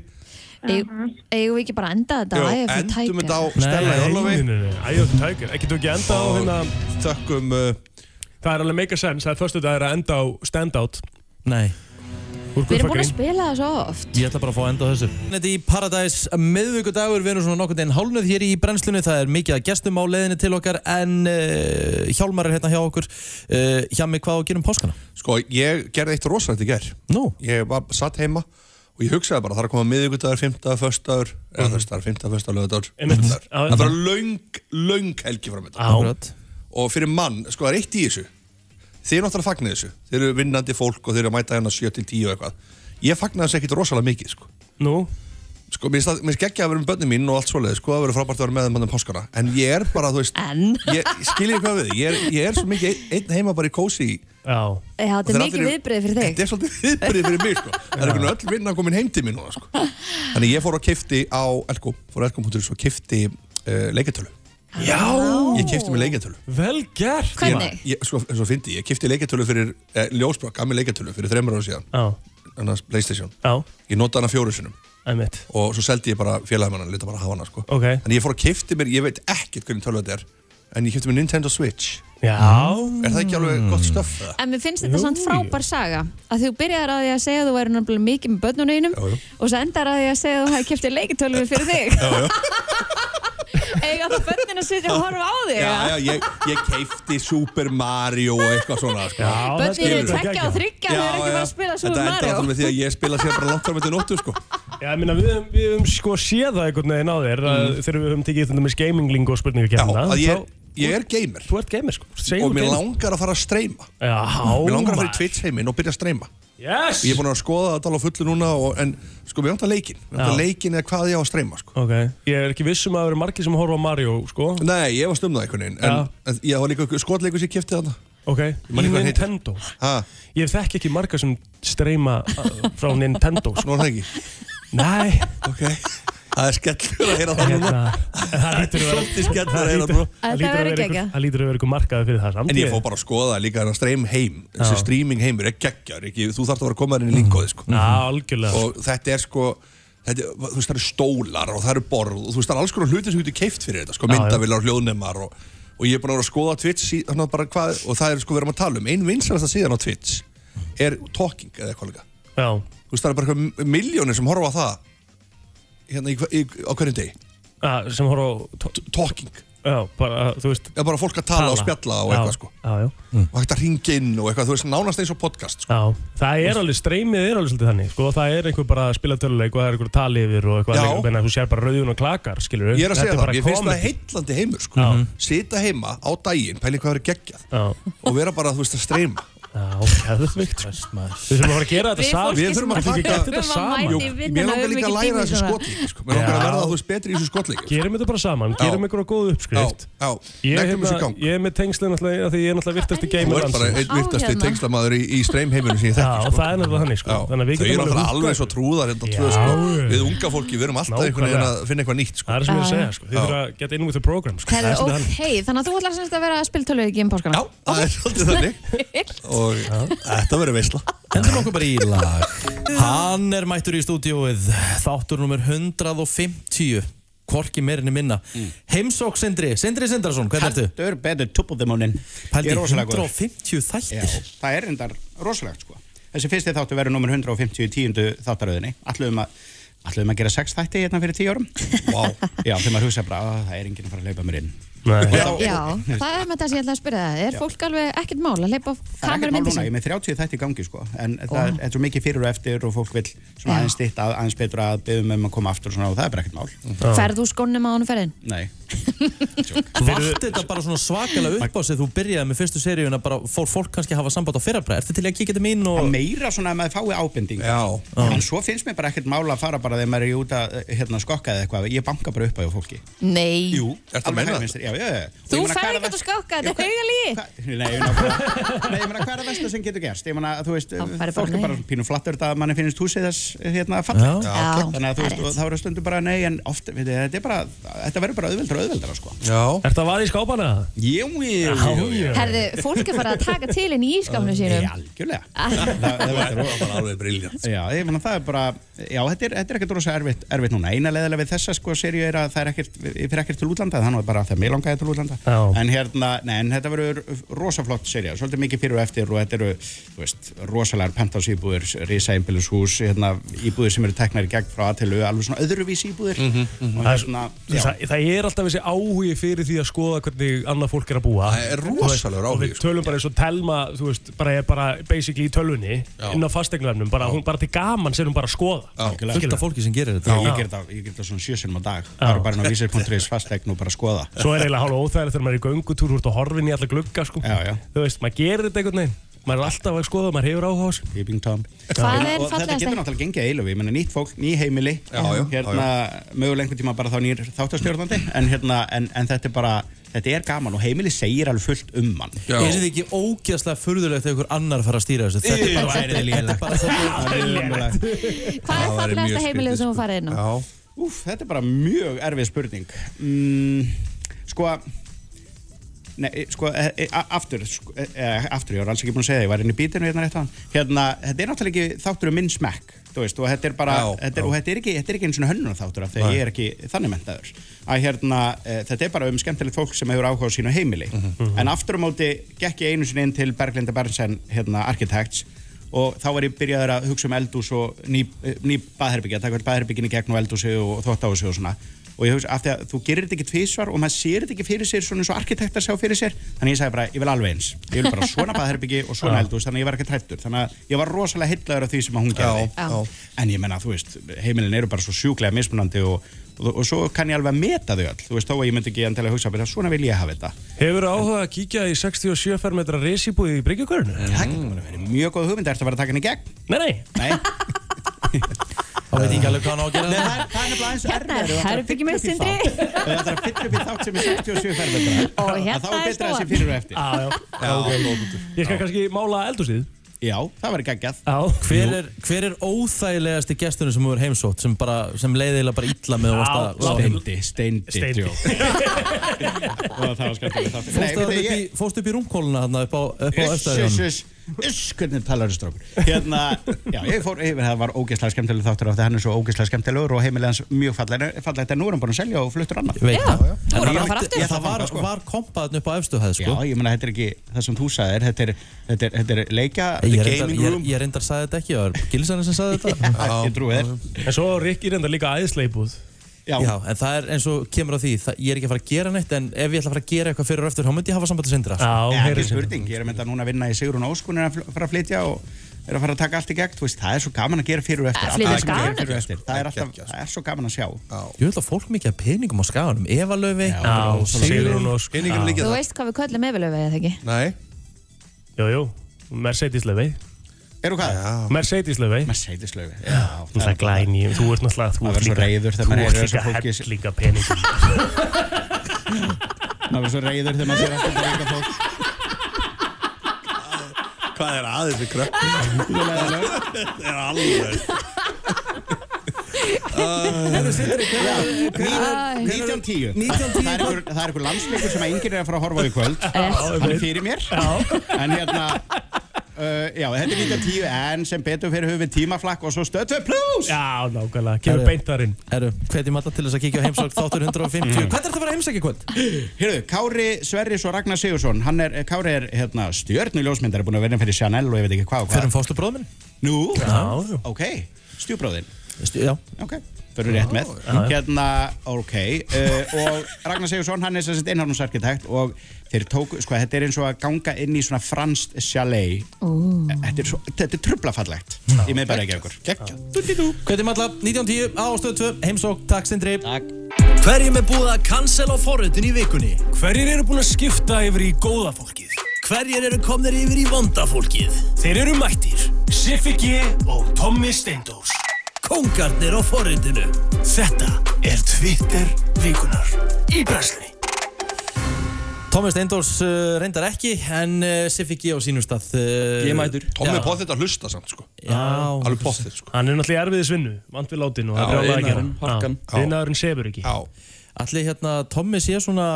S2: Eigum eigum við ekki bara að enda þetta?
S8: Jú,
S2: Æ, ég fyrir
S8: endum
S2: tækja.
S8: þetta á
S3: e-
S8: Stella í Orlofi
S3: Æjóttu tækir, ekki þú ekki enda á hérna
S8: og þökkum uh,
S3: Það er alveg make a sense, það er förstu dagur að enda á standout
S1: Nei,
S3: úr
S2: Við erum búin að
S3: Guðfakring
S2: spila það svo oft.
S1: ég ætla bara að fá að enda á þessu Þetta er í Paradise miðvikudagur Við erum svona nokkurn veginn hálnuð hér í brennslunni Það er mikið að gestum á leiðinni til okkar En uh, Hjálmar er hérna hjá okkur uh, Hjá mig hvað á að gera um páskana
S8: Sko, ég gerði eitt rosalegt í gær
S1: Nú,
S8: Ég var satt heima og ég hugsaði bara það er að koma miðvikudagur, fymtaður, föstaður eða föstaður, fymtaður, föstaður, lögadagur
S3: Einmitt.
S8: föstudagur.
S3: Já, já.
S8: Það er bara löng, löng helgi fram þetta
S1: akkurat
S8: og fyrir mann, sko það er eitt í þessu þeir náttúrulega fagnir þessu þeir eru vinnandi fólk og þeir eru að mæta hérna 7 til 10 og eitthvað ég fagnar þessu ekkit rosalega mikið sko.
S3: Nú,
S8: sko, mér finnst mér finnst geggjað að vera með börnin mín og allt svoleiðis, sko, að vera frábært að vera með þeim mannum páskana en ég er bara, þú veist,
S2: En,
S8: ég skilja hvað við ég er, ég er svo mikið einn- einn heima bara í kósi
S3: já
S2: já, þetta er mikið viðbröð fyrir
S8: Þetta
S2: þig.
S8: er svolítið viðbrið fyrir mig, sko Það er einhvern öll vinna komin heim til mín núna, sko Þannig ég fór og kifti á Elko fór á elko.is og kifti uh, leiketölu
S3: Já,
S8: Ég kifti mig leiketölu
S3: vel gert
S2: Hvernig?
S8: ég, Svo, svo fyndi, ég, ég kifti leiketölu fyrir eh, ljósbrá, gammi leiketölu fyrir þreymur ára síðan
S3: Já,
S8: annars Playstation
S3: já,
S8: Ég nota hana fjóru sinum
S3: emitt
S8: og svo seldi ég bara félagamann hann, leta bara hafa hana sko.
S3: Ok.
S8: Þannig ég fór að kifti mér, ég veit ekkert hvernig tölva þetta er en ég kifti mér Nintendo Switch
S3: Já,
S8: Er það ekki alveg gott stöf? Mm.
S2: En mér finnst þetta
S3: Jú,
S2: samt
S3: jú.
S2: frábær saga að þú byrjar að því að segja að þú væri náttúrulega mikið með börnunum
S8: Já, jú.
S2: og svo endar að því að segja að þú hefði kæftið leikitölvi fyrir þig
S8: Já, já,
S2: eiga þá börnin að sitja og horfa á þig
S8: já,
S2: eða?
S8: já ég, ég keifti Super Mario og eitthvað svona sko.
S3: já
S2: börnin eru
S3: skilur.
S2: tvekja og þryggja þau eru ekki bara að spila Super
S8: Þetta endar alltaf
S2: Mario
S8: með því að ég spila sér bara langt fram eftir nóttu sko.
S3: Já, ég minna, við höfum- við höfum sko séð það einhvern veginn á þér að þegar við höfum tekið þetta með gamingling og
S8: Mm. Já,
S3: spurningakefna
S8: að ég, ég er gamer
S3: Þú ert gamer sko,
S8: og
S3: segjum
S8: mér
S3: gamer Oh
S8: langar að fara að streyma
S3: Já,
S8: Mér langar að fara í Twitch heiminn og byrja að streyma
S3: Yes
S8: Ég er búin að skoða þetta alveg á fullu núna og, en sko, mér vantar leikinn Mér vantar
S3: Já.
S8: leikinn eða hvað ég á að streyma sko.
S3: Ok, ég er ekki viss um að það eru margir sem horfa á Mario sko
S8: Nei, ég var stumnað einhvern veginn en, en ég var líka skotleikur sem ég kefti þarna
S3: Ok,
S8: man ekki
S3: í
S8: hvað hann heitir.
S3: Nintendo
S8: Ha,
S3: Ég þekki ekki marga sem streyma uh, frá Nintendo sko.
S8: nú er það ekki
S3: Nei
S8: Ok, það er skellur að heyra það núna
S3: hérna, Það lítur að vera
S8: Svolítið skellur
S3: það
S8: að heyra það
S3: hlýtur-
S8: núna
S2: Þetta
S3: það hlýtur að
S2: verður
S3: vera einhver-
S2: geggjað.
S3: Það lítur að vera ykkur markaði fyrir það samt
S8: En ég fór bara að skoða líka þennan streym heim Þessi
S3: Já.
S8: streaming heimur er geggjar ekki, Þú þarft að vera að koma þér inn í linkóði sko.
S3: Já, algjörlega
S8: og þetta er sko þetta, er- þú veist það eru stólar og það eru borð og þú veist það eru alls konar hluti sem getur keift fyrir þetta sko
S3: Já, já.
S8: myndavilar, hljóðnemar og, og ég er búin að vera að skoða Twitch sí, þarna bara, hvað, og það er sko við erum að tala um ein vinsalasta síðan á Twitch er talking eða eitthvað líka þú
S3: Já,
S8: veist það eru bara eitthvað miljónir sem horfa á það hérna í, hva- í, á hverjum degi
S3: að, sem horfa á
S8: Talking
S3: Já, bara, þú veist
S8: Já, bara fólk að tala og spjalla og eitthvað, sko.
S3: Já, Mm. já
S8: og hægt að ringa inn og eitthvað, þú veist, nánast eins og podcast sko.
S3: Já, það er alveg, streymið er alveg svolítið þannig sko, það er einhver bara að spila töluleik og það er einhver að tala yfir og eitthvað,
S8: Já.
S3: þannig, menna, þú sér bara rauðun og klakar, skilur
S8: Ég er að segja það, ég finnst það heitlandi heimur sko. Sita heima á daginn, pæli hvað verið geggjað
S3: Já.
S8: og vera bara, þú veist, að streyma
S3: Já, geðvikt sko. Við þurfum að fara að gera þetta
S8: Við
S3: saman
S8: fólkið Við þurfum að sem taka-
S3: gera þetta
S8: þurfum að
S3: saman
S8: mæta í Jú, mér vinnuna, langar höfum líka að ekki læra tíma í þessi svona. skotleiki, sko. Mér langar að
S3: Já.
S8: verða, þú veist, betri í þessu skotleiki
S3: Gerum þetta bara saman, gerum einhverja góð uppskrift
S8: Já, já,
S3: Ég,
S8: leggjum þessu í
S3: hérna,
S8: gang.
S3: ég er með tengslinn náttúrulega af því ég er náttúrulega virtasti
S8: Þú
S3: geimur
S8: ert bara einn virtasti tengslamæður í, í streymheiminu sem ég þekki sko.
S3: Já, það er nefnilega þannig sko. Þannig að við
S8: Þau eru
S3: getum
S8: náttúrulega alveg
S3: húkkað.
S8: svo trúðar hérna tvö
S3: Já.
S8: sko. Við unga fólki, við erum alltaf einhvern veginn að
S3: Nákvæmlega.
S8: finna eitthvað nýtt sko.
S3: Það er sem ég er að segja, sko. þið þurfa að geta inn with the program sko.
S2: Herru, ok, þannig að þú ætlar semst að vera að spila töluleiki um páskana.
S8: Já, það er svolítið
S2: þannig.
S8: og þetta verður veisla
S1: Endum okkur bara í lag Hann er mættur í stúdíóið Þáttur nummer 150 Hvorki meirinni minna
S11: Mm.
S1: Heimsók Sindri, Sindri Sindrason, hvernig ertu?
S11: Heldur betur tup of the morning
S1: Pældi
S11: Ég er rosalega góður.
S1: 150 þættir
S11: Já, það er reyndar rosalegt sko Þessi fyrsti þáttu verður nummer 150 í tíundu þáttaröðinni Ætluðum að, ætluðum að gera sex þætti hérna fyrir tíu árum wow. Já, þegar maður hugsa bara, "Ah, það er enginn að fara að leipa mér inn Og þá-
S2: Já, það er með það sem ég ætla að spyrja það. Er
S11: Já.
S2: fólk alveg ekkert mál að leipa
S11: Það er ekkert
S2: kameru
S11: mál
S2: myndi
S11: núna, ég er
S2: sín?
S11: með 30 þætti í gangi sko En það er, þetta er svo mikið fyrir og eftir og fólk vil svona aðeins stýtt að, aðeins betur að byggðum um að koma aftur og svona og það er bara ekkert
S2: Mm.
S11: mál
S2: Ferð úr skónum á hann ferðin?
S11: Nei
S1: Vart þetta bara svona svakalega upp á sig Þú byrjaði með fyrstu seríuna bara Fór fólk kannski að hafa samband á fyrrabræð Ertu til í að kíkja þetta mín og
S11: Það meira svona að maður fái ábending
S8: Já,
S11: En svo finnst mér bara ekkert mála að fara bara þegar maður er í út að hérna, skokka eða eitthvað Ég banka bara upp á hjá fólki
S2: Nei.
S11: Jú,
S8: ertu að meina
S11: það?
S8: það?
S11: Já, já, já
S2: Þú ferði ekkert að skokka, þetta er haugalíi.
S11: Nei, ég meina, hvað- nei, ég meina, hvað er það versta sem getur gerst? Ég meina, þú veist,
S2: bara
S11: fólk er
S2: nei.
S11: bara pínu flattur þetta að manni finnist húsið þess hérna
S2: Já.
S11: fallegt.
S2: Já,
S11: Þannig að þú
S2: það er
S11: veist, og
S2: rétt.
S11: þá eru stundum bara nei, en oft, veit, þið, þetta er bara, þetta verður bara auðveldra, auðveldra, sko.
S8: Já.
S3: Er það vaðið í skápana?
S11: Jú, jú, jú, jú.
S2: Herðu, fólk er farið að taka til henni í ískapnum sínum.
S11: Algjörlega. Það- það verður-
S8: Það var alveg briljant
S11: Já, ég meina það er bara, já, þetta er, þetta er ekkert rosa erfitt, erfitt núna. Eina leiðilega við þessa sko serju er að það er ekkert, ég fyrir ekkert til útlanda, þannig að bara þegar mig langaði til útlanda.
S3: Já.
S11: En hérna, nei, en þetta verður rosa flott serja, svolítið mikið fyrir og eftir og þetta eru, þú veist, rosalegar pentás íbúðir, risa einbílis hús, hérna, íbúðir sem eru teknar í gegn frá aðtilu, alveg svona öðruvísi íbúðir. Mm -hmm. Og
S3: Mhm, Það er-
S11: hérna, já,
S3: Það, það er alltaf þessi áhugi fyrir því að skoða hvernig annað fólk er að búa
S8: Það er
S3: Þú veist,
S8: rosalegur
S3: og
S8: áhugi, sko.
S3: Við tölum bara eins og Telma, þú veist, bara er bara basically í tölvunni inn á fastegnarnum bara, hún bara til gaman sem hún bara að skoða
S11: algjörlega.
S1: fullt af fólki sem gerir
S11: Já,
S1: þetta
S11: ég ger það, ég ger það svona sjösunum á dag, það er bara inn á vísir.is fastegn og bara skoða.
S3: Svo er eiginlega hálfa óþægilegt þegar maður er í göngutúr úr og horfin í alla glugga sko.
S11: Já, já.
S3: Þú veist, maður gerir þetta einhvern veginn Maður er alltaf að skoða, maður hefur áhuga á þessu
S11: Peeping Tom
S2: Hvað er
S11: og þetta
S2: fallegasta?
S11: getur náttúrulega gengið að eilu ég menna nýtt fólk, ný heimili
S8: Já, já,
S11: hérna, mögulega einhvern tíma bara þá nýr þáttastjórnandi en, hérna, en, en þetta er bara þetta er gaman og heimili segir alveg fullt um mann
S1: Er þetta ekki ógeðslega furðulegt ef ykkur annar fara að stýra þessu? Þetta er bara-
S11: væri
S1: þetta- þetta er bara
S11: Það er umlega-
S2: Hvað er sko.
S8: Það væri
S2: fallegasta
S8: mjög
S2: heimilið
S8: skrítið,
S2: sem þú farið inn á?
S11: Úf, þetta er bara mjög erfið spurning mm, sko Nei, sko, e, e, a- aftur, sko, e, e, aftur, ég var alls ekki búin að segja það, ég var inn í bítinu hérna rétt á hann. Hérna, þetta er náttúrulega ekki þáttur um minn smekk, þú veist, og þetta er bara,
S8: Já,
S11: þetta er,
S8: já.
S11: og þetta er ekki, þetta er ekki eins og hönnunar þáttur af því að ég er ekki þannig mentaður. Að hérna, e, þetta er bara um skemmtilegt fólk sem hefur áhuga á sínu heimili.
S8: Mhm,
S11: En aftur á móti gekk ég einu sinni inn til Berglinda Bernsen, hérna, Architects, og þá var ég byrjaður að hugsa um eldús og ný, eh, ný baðherbyggja, að taka öll baðherbyggin í gegn og eldúsi og þvóttahúsi og svona og ég hugsa, af því að þú gerir þetta ekki tvísvar og maður sér þetta ekki fyrir sér svona eins og arkitektar sá fyrir sér þannig ég sagði bara, ég vil alveg eins ég vil bara svona baðherbyggi og svona eldús þannig að ég var ekki trættur þannig að ég var rosalega hellaður af því sem að hún gerði
S8: Já, já.
S11: en ég menna, þú veist, heimilin eru bara svo sjúklega mismunandi og, og, og svo kann ég alveg að meta þau öll, þú veist, þó að ég myndi ekki endilega hugsa bara, svona vil ég hafa þetta
S3: Hefur áhuga að kíkja í 67 fermetra resibúið í Bryggjukörnu?
S11: það getur bara verið mjög góð hugmynd, ertu að fara að taka henni í gegn
S3: Nei, nei,
S11: Nei,
S1: Það veit ég ekki alveg hvað hann á að
S11: Nei,
S1: gera
S11: það er það er nefnilega aðeins
S2: Hérna er
S11: erfiðari, þú ætlar að
S2: herbergið mitt,
S11: fylla
S2: Sindri.
S11: upp í þátt. Þú ætlar að fylla upp í þátt sem er 67 fermetrar.
S2: Og
S11: Að
S2: hérna
S11: Þá er
S2: er
S11: betra þessi
S2: stofan.
S11: fyrir og eftir
S3: já, já
S8: Já, lóðbútur
S3: Ég skal kannski mála eldúsið
S11: Já, það var geggjað
S3: Já,
S1: Hver er, hver er óþægilegasti gesturinn sem þú er heimsótt sem, bara, sem leiðilega bara illa með að varst að
S11: Steindi, steindi,
S3: Steindi.
S11: djók. Og það var skemmtilega þáttur Nei,
S1: Fórstu
S11: veit
S1: þarna upp í-
S11: þið, ég
S1: Fórstu upp í rúmkóluna þarna upp á, upp á
S11: Uss, uss,
S1: öfstæðunum
S11: uss, uss, hvernig talar þessu strókur Hérna, já, ég fór yfir, það var ógeðslega skemmtilega þáttur af því að hann er svo ógeðslega skemmtilegur og heimilega hans mjög fallega fallega en nú er hann búin að selja og fluttur annað
S1: Veit
S2: Já,
S1: það.
S2: þú voru bara að fara
S1: Ég-
S2: aftur.
S1: Það var, sko- var kompaðin upp á öfstuhæð
S11: Já,
S1: sko.
S11: ég meina, þetta er ekki það sem þú sagðir þetta er, þetta er, þetta er
S1: Ég
S11: leikja Þetta er
S1: reyndar,
S11: gaming
S1: ég,
S11: room.
S1: ég reyndar sagði þetta ekki Það var Gilsarinn sem sagði þetta
S11: Ég trúi þér
S3: En svo Rikki reyndar líka æðisleipúð
S11: Já.
S1: en það er eins og kemur á því, það, ég er ekki að fara að gera neitt, en ef ég ætla að fara að gera eitthvað fyrir og eftir, þá myndi ég hafa samband að sindra.
S11: Nei, ekki spurning, ég er að mynda núna að vinna í Sigrun Óskun er að fl- fara að flytja og er að fara að taka allt í gegn, þú veist, það er svo gaman að gera fyrir og eftir
S1: Að flytja
S11: Allt sem
S1: er
S11: gerir
S1: gaman.
S11: fyrir og eftir. það er alltaf, það er svo gaman að sjá
S1: Ég vil að fólk mikið að peningum á skaganum, Eva Löfi,
S3: Já, Sigrún Ósk. Peningum
S2: Þú veist hvað við köllum efilöfið eða ekki?
S8: Nei
S3: Jú, jú, Mercedes Löfvei
S11: Eru hvað?
S3: Mercedes Löfvei
S11: Mercedes Löfvei
S3: Já, þú ert glæni, þú ert náttúrulega Þú
S11: Maður
S3: ert
S11: er svo
S3: líka,
S11: reiður þegar
S3: þú
S11: maður
S3: ert
S11: heyrir
S3: líka
S11: þessu fólki.
S3: hellinga peningum
S11: maður er svo reyður þegar maður sér alltaf reyka fólk
S8: Hvað er aðeins við krökkum? Það er alveg
S11: Herru, Sindri,
S2: Æ.
S11: hvenær- hvenær- 19.10
S2: 19.10.
S11: Það er einhver- það er einhver landsleikur sem að yngir er að fara að horfa á í kvöld Hann er fyrir mér En hérna uh, Já, þetta er 19.10 En sem betur fyrir höfum við tímaflakk og svo stöðtöð plus
S3: Já, nákvæmlega, kemur beintarinn
S1: Herru, hvetjum alltaf til þess að kíkja á heimsókn þáttur 150. Hvað er þetta að vera heimsækja kvöld?
S11: Hérðu, Kári Sverris og Ragnar Sigursson hann er, Kári er hérna, stjörnuljósmyndar er búin að vera fyrir Chanel og ég veit ekki hvað og hvað
S1: Fyrir um fóstubróðum minn?
S11: Nú,
S1: Já.
S11: ok, stjúbróðin
S1: Stu, Já.
S11: Ok, fyrir rétt með
S1: Já, já.
S11: Hérna, ok uh, Og Ragnar Sigursson, hann er sem sagt innháðnumsarkitekt Og þeir tóku, sko, þetta er eins og að ganga inn í svona franskt chalet Þetta er, svo, þetta er tröflafallegt Í miðbæra ekki okkur
S1: Hvetjum alla 19.10 á stöð 2, heimsókn, takk Sindri.
S11: Takk.
S12: Hverjum er búið að cancel á forritun í vikunni? Hverjir eru búin að skipta yfir í góða fólkið? Hverjir eru komnir yfir í vonda fólkið? Þeir eru mættir. Siffi G og Tommi Steindós. Kongarnir á forritinu. Þetta er Twitter vikunar í brensli.
S1: Tómi Steindors uh, reyndar ekki, en uh, Siffi G á sínum stað. Uh,
S3: Ég er mætur.
S8: Tommi er pottet að hlusta samt sko
S1: Já.
S8: Alveg pottet sko
S3: Hann er náttúrulega erfiðið svinnu, vant við látin og það
S8: Já,
S3: er brjálæði að gera
S8: iðnaðurinn, harkan. Já.
S3: Þinnaðurinn sefur ekki
S1: Allir hérna, Tommi sé svona,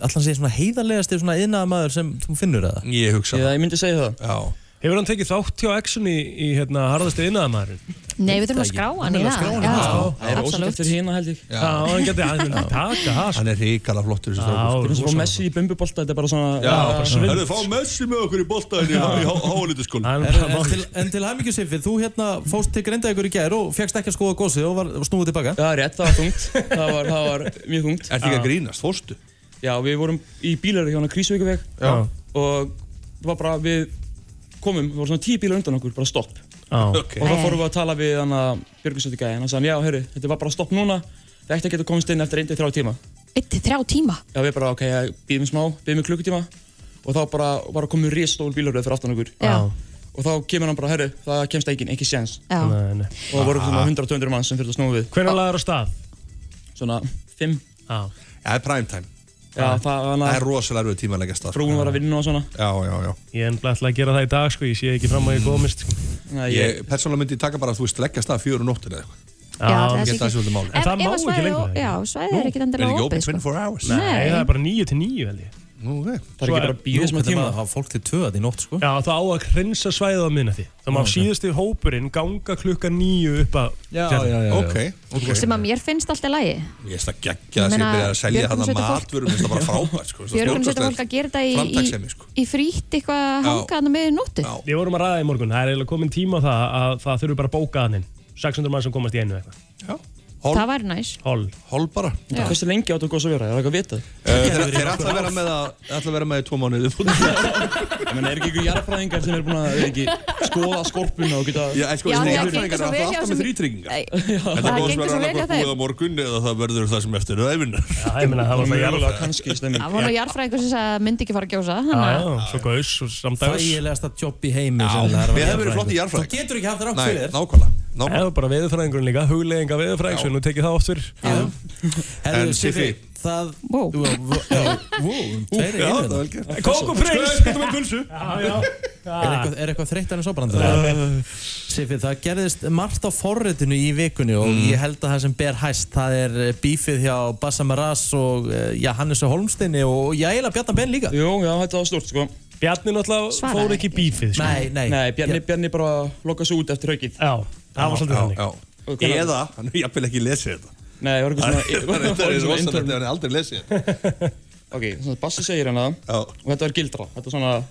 S1: allir hann sé svona heiðarlegasti svona yðnaða maður sem þú finnur eða?
S8: Ég hugsa
S1: Já,
S3: ég myndi segja það
S8: Já.
S3: Hefur hann tekið þátt hjá Exxon í, í hérna, harðastu innaðamæður?
S2: Nei, við þurfum að skrá hann í það.
S3: Það er óskilegt
S2: absolutt.
S13: eftir hérna held ég
S3: Já, hann geti aðeins taka það
S8: Hann er ríkala flottur þessi
S13: Þetta er
S8: strákur
S13: eins og
S8: sko.
S13: fá messi í bumbubolta, þetta er bara svona
S8: Já, Herðu, fá Messi með okkur í boltaðinni í háalitaskóla
S1: En, en, til, en til hæmingu Siffi, þú hérna fóst til Grindavíkur í gær og fegst ekki að skoða gósið og var, var snúið tilbaka.
S13: Já, rétt, það var þungt Það var, það var mjög þungt
S1: Ertu ekki að
S8: grínast, fórstu?
S13: Já, við vorum í bílari hjá hana Krísuvíkaveg
S3: Já.
S13: Og það var bara, við komum, það voru svona tíu bílar undan okkur, bara stopp
S3: Já.
S13: Og þá fórum við að tala við hana Björgvinsdóttir gæðin Hann sagði, já, heyrðu, þetta var bara stopp núna Það ætti að geta komist inn eftir 1-3 tíma
S2: Eitt til þrjá tíma.
S13: Já, við bara, ok, býðum smá, býðum klukkutíma Og þá bara, bara komið résstól bílaröð fyrir aftan okkur
S2: Já.
S13: Og þá kemur hann bara, herru, það kemst enginn, ekki séns
S2: Já.
S3: Nei, nei.
S13: Og það voru
S1: Ah.
S13: svona 100-200 mann sem fyrir að snúa við
S3: Hvernig lagður á stað?
S13: Svona 5
S3: Já,
S8: það er prime time
S13: Já,
S1: Ah.
S13: það, það,
S8: er rosalega erfið tíma að leggja af stað
S13: Frúin var að vinna og svona
S8: Já, já, já
S3: Ég er ennblæð að gera það í dag sko, ég sé ekki fram að ég komist sko.
S13: Nei,
S8: Ég persónulega myndi taka bara að þú veist leggja af stað fjögur um nóttina eða eitthvað
S3: Já,
S8: það
S3: það
S8: er
S3: sé
S8: svolítið
S3: ekki-
S8: máli.
S3: En það má ekki lengur,
S2: Já, svæðið er ekkit
S8: Er
S2: endilega
S8: ekki
S2: opið.
S8: open
S2: sko.
S8: 24 hours?
S3: Nei,
S2: Nei.
S3: það er bara 9 til 9 held ég
S8: Nú, ok
S13: Það er ekki bara að bíða smá tíma.
S1: Það hafa fólk til tvöðat í nótt, sko.
S3: Já, það á að hrensa svæðið á minnati Það má
S1: Já, ok.
S3: síðusti hópurinn ganga klukka 9 upp að
S1: Já,
S3: Tjarnarbíó.
S1: já, já, já.
S2: Sem að mér finnst alltaf lægi.
S8: Ég veist að geggja það sem
S2: Ég meina,
S8: byrjaði að selja
S2: Björgun
S8: hann að
S2: setur fólk-
S8: matvörum Mér finnst það bara frábært sko
S2: Björgun setja fólk að gera þetta í,
S8: framtakssemi, sko.
S2: í, í frítt eitthvað að hanga hann með nóttu.
S3: Við vorum að ræða í morgun, það er eiginlega komin tíma á það að það þurfi bara að bóka hann inn 600 mann sem komast í einu eitthvað
S2: Það væri næs.
S3: Hol
S8: Hol bara
S13: Já. Hversu lengi áttu góðs að vera? Er það eitthvað vitað?
S8: Þeir þeir ætla að vera með það Þeir ætla að vera með í tvo mánuði
S13: Ég meina, er ekki ykkur jarðfræðingar sem er búin að er ekki, skoða skorpuna og geta...
S8: Já, en sko,
S13: Já,
S8: þessi
S13: það
S8: jarðfræðingar
S13: gengur svo vel hjá
S8: eru alltaf alltaf
S13: þessum-
S8: með þrítryggingar.
S13: Nei.
S8: Þetta
S13: Það
S8: er góð sem
S13: gengur
S8: er
S13: svo vel hjá
S8: annað
S13: þeim.
S8: búið á morgun eða það verður það sem eftir öðvinna
S3: Já, ég meina, það var alltaf jarðfræði.
S13: kannski stemming
S2: Það var nú jarðfræðingur sem sagði að myndi ekki fara að gjósa.
S3: Já,
S2: þannig
S3: já,
S2: að-
S3: svo gaus og samdags
S1: Þægilegasta jobb í heimi
S3: Já,
S1: sennilega, að vera
S3: við hefum verið flott í
S1: jarðfræðingur. Þú
S3: jarðfræði.
S1: getur ekki haft rátt fyrir þér
S8: nákvæmlega
S3: Eða bara veðurfræðingurinn líka, huglegginga veðurfræðing Svo nú tekið það oft fyrir
S1: Herru, Siffi, það Wow, wow, um tveir í einu
S3: Já, það var
S1: þarna.
S3: vel gert. Kók og prins.
S1: Skvett, skvett og pulsu.
S3: Já, já.
S1: Er eitthvað- er eitthvað þreytt hann í
S3: Já.
S1: sobrandar? Siffi, það gerðist margt á forritinu í vikunni og
S3: Mm.
S1: ég held að það sem ber hæst það er eh, bífið hjá Bassa Maras og eh, já, Hannesu Holmsteini og já, eiginlega Bjarnar Ben líka
S13: Jú, já, þetta var stort, sko
S3: Bjarni náttúrulega Svaraði fór ekki í bífið, sko.
S1: Nei, nei
S13: Nei, Bjarni, Bjarni bara lokaði sig út eftir haukið
S3: Já, það var svolítið þannig.
S13: þannig
S8: Eða, hann er jafnvel ekki lesið þetta
S13: Nei, það var eitthvað svona-
S8: Það er- það er
S13: eitthvað svona
S8: rosalegt
S13: intern-
S8: ef hann er aldrei lesið þetta
S13: Ok, svona Bassi segir hana Og þetta var gildra Þetta er svona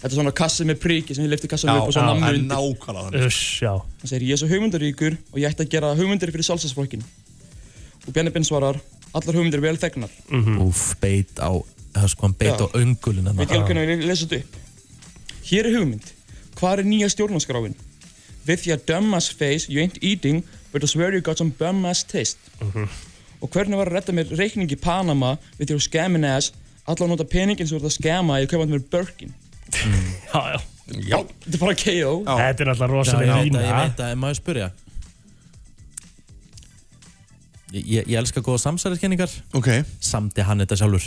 S13: Þetta er svona kassi með priki sem ég lifti kassan
S8: Já,
S13: upp og svona
S8: já,
S13: namnu
S8: en
S13: undir
S8: nákvæmlega þannig.
S3: Uss, já
S13: Hann segir, ég er svo hugmyndaríkur og ég ætti að gera hugmyndir fyrir sjálfsæðsflokkin og Bjarni Binn svarar allar hugmyndir eru vel þegnar
S1: Úf, beit á, það er sko hann beit
S13: Já.
S1: á öngulina
S13: Veit ekki alveg hvernig ég lesa þetta upp Hér er hugmynd Hvað er nýja stjórnarskráin? With your dumbass face you ain't eating But I swear you got some dumbass taste Og hvernig var að redda mér reikning í Panama With your scamming ass Alla að nota peningin sem þú ert að skemma Ég kaupa hann mér Birkin
S3: Já, já
S13: Já, þetta er bara KO
S3: Þetta er náttúrulega rosalega lína
S1: Ég veit að, maður spyrja Ég, ég, ég elska góða samsæðiskenningar
S8: Ok
S1: Samdi hann þetta sjálfur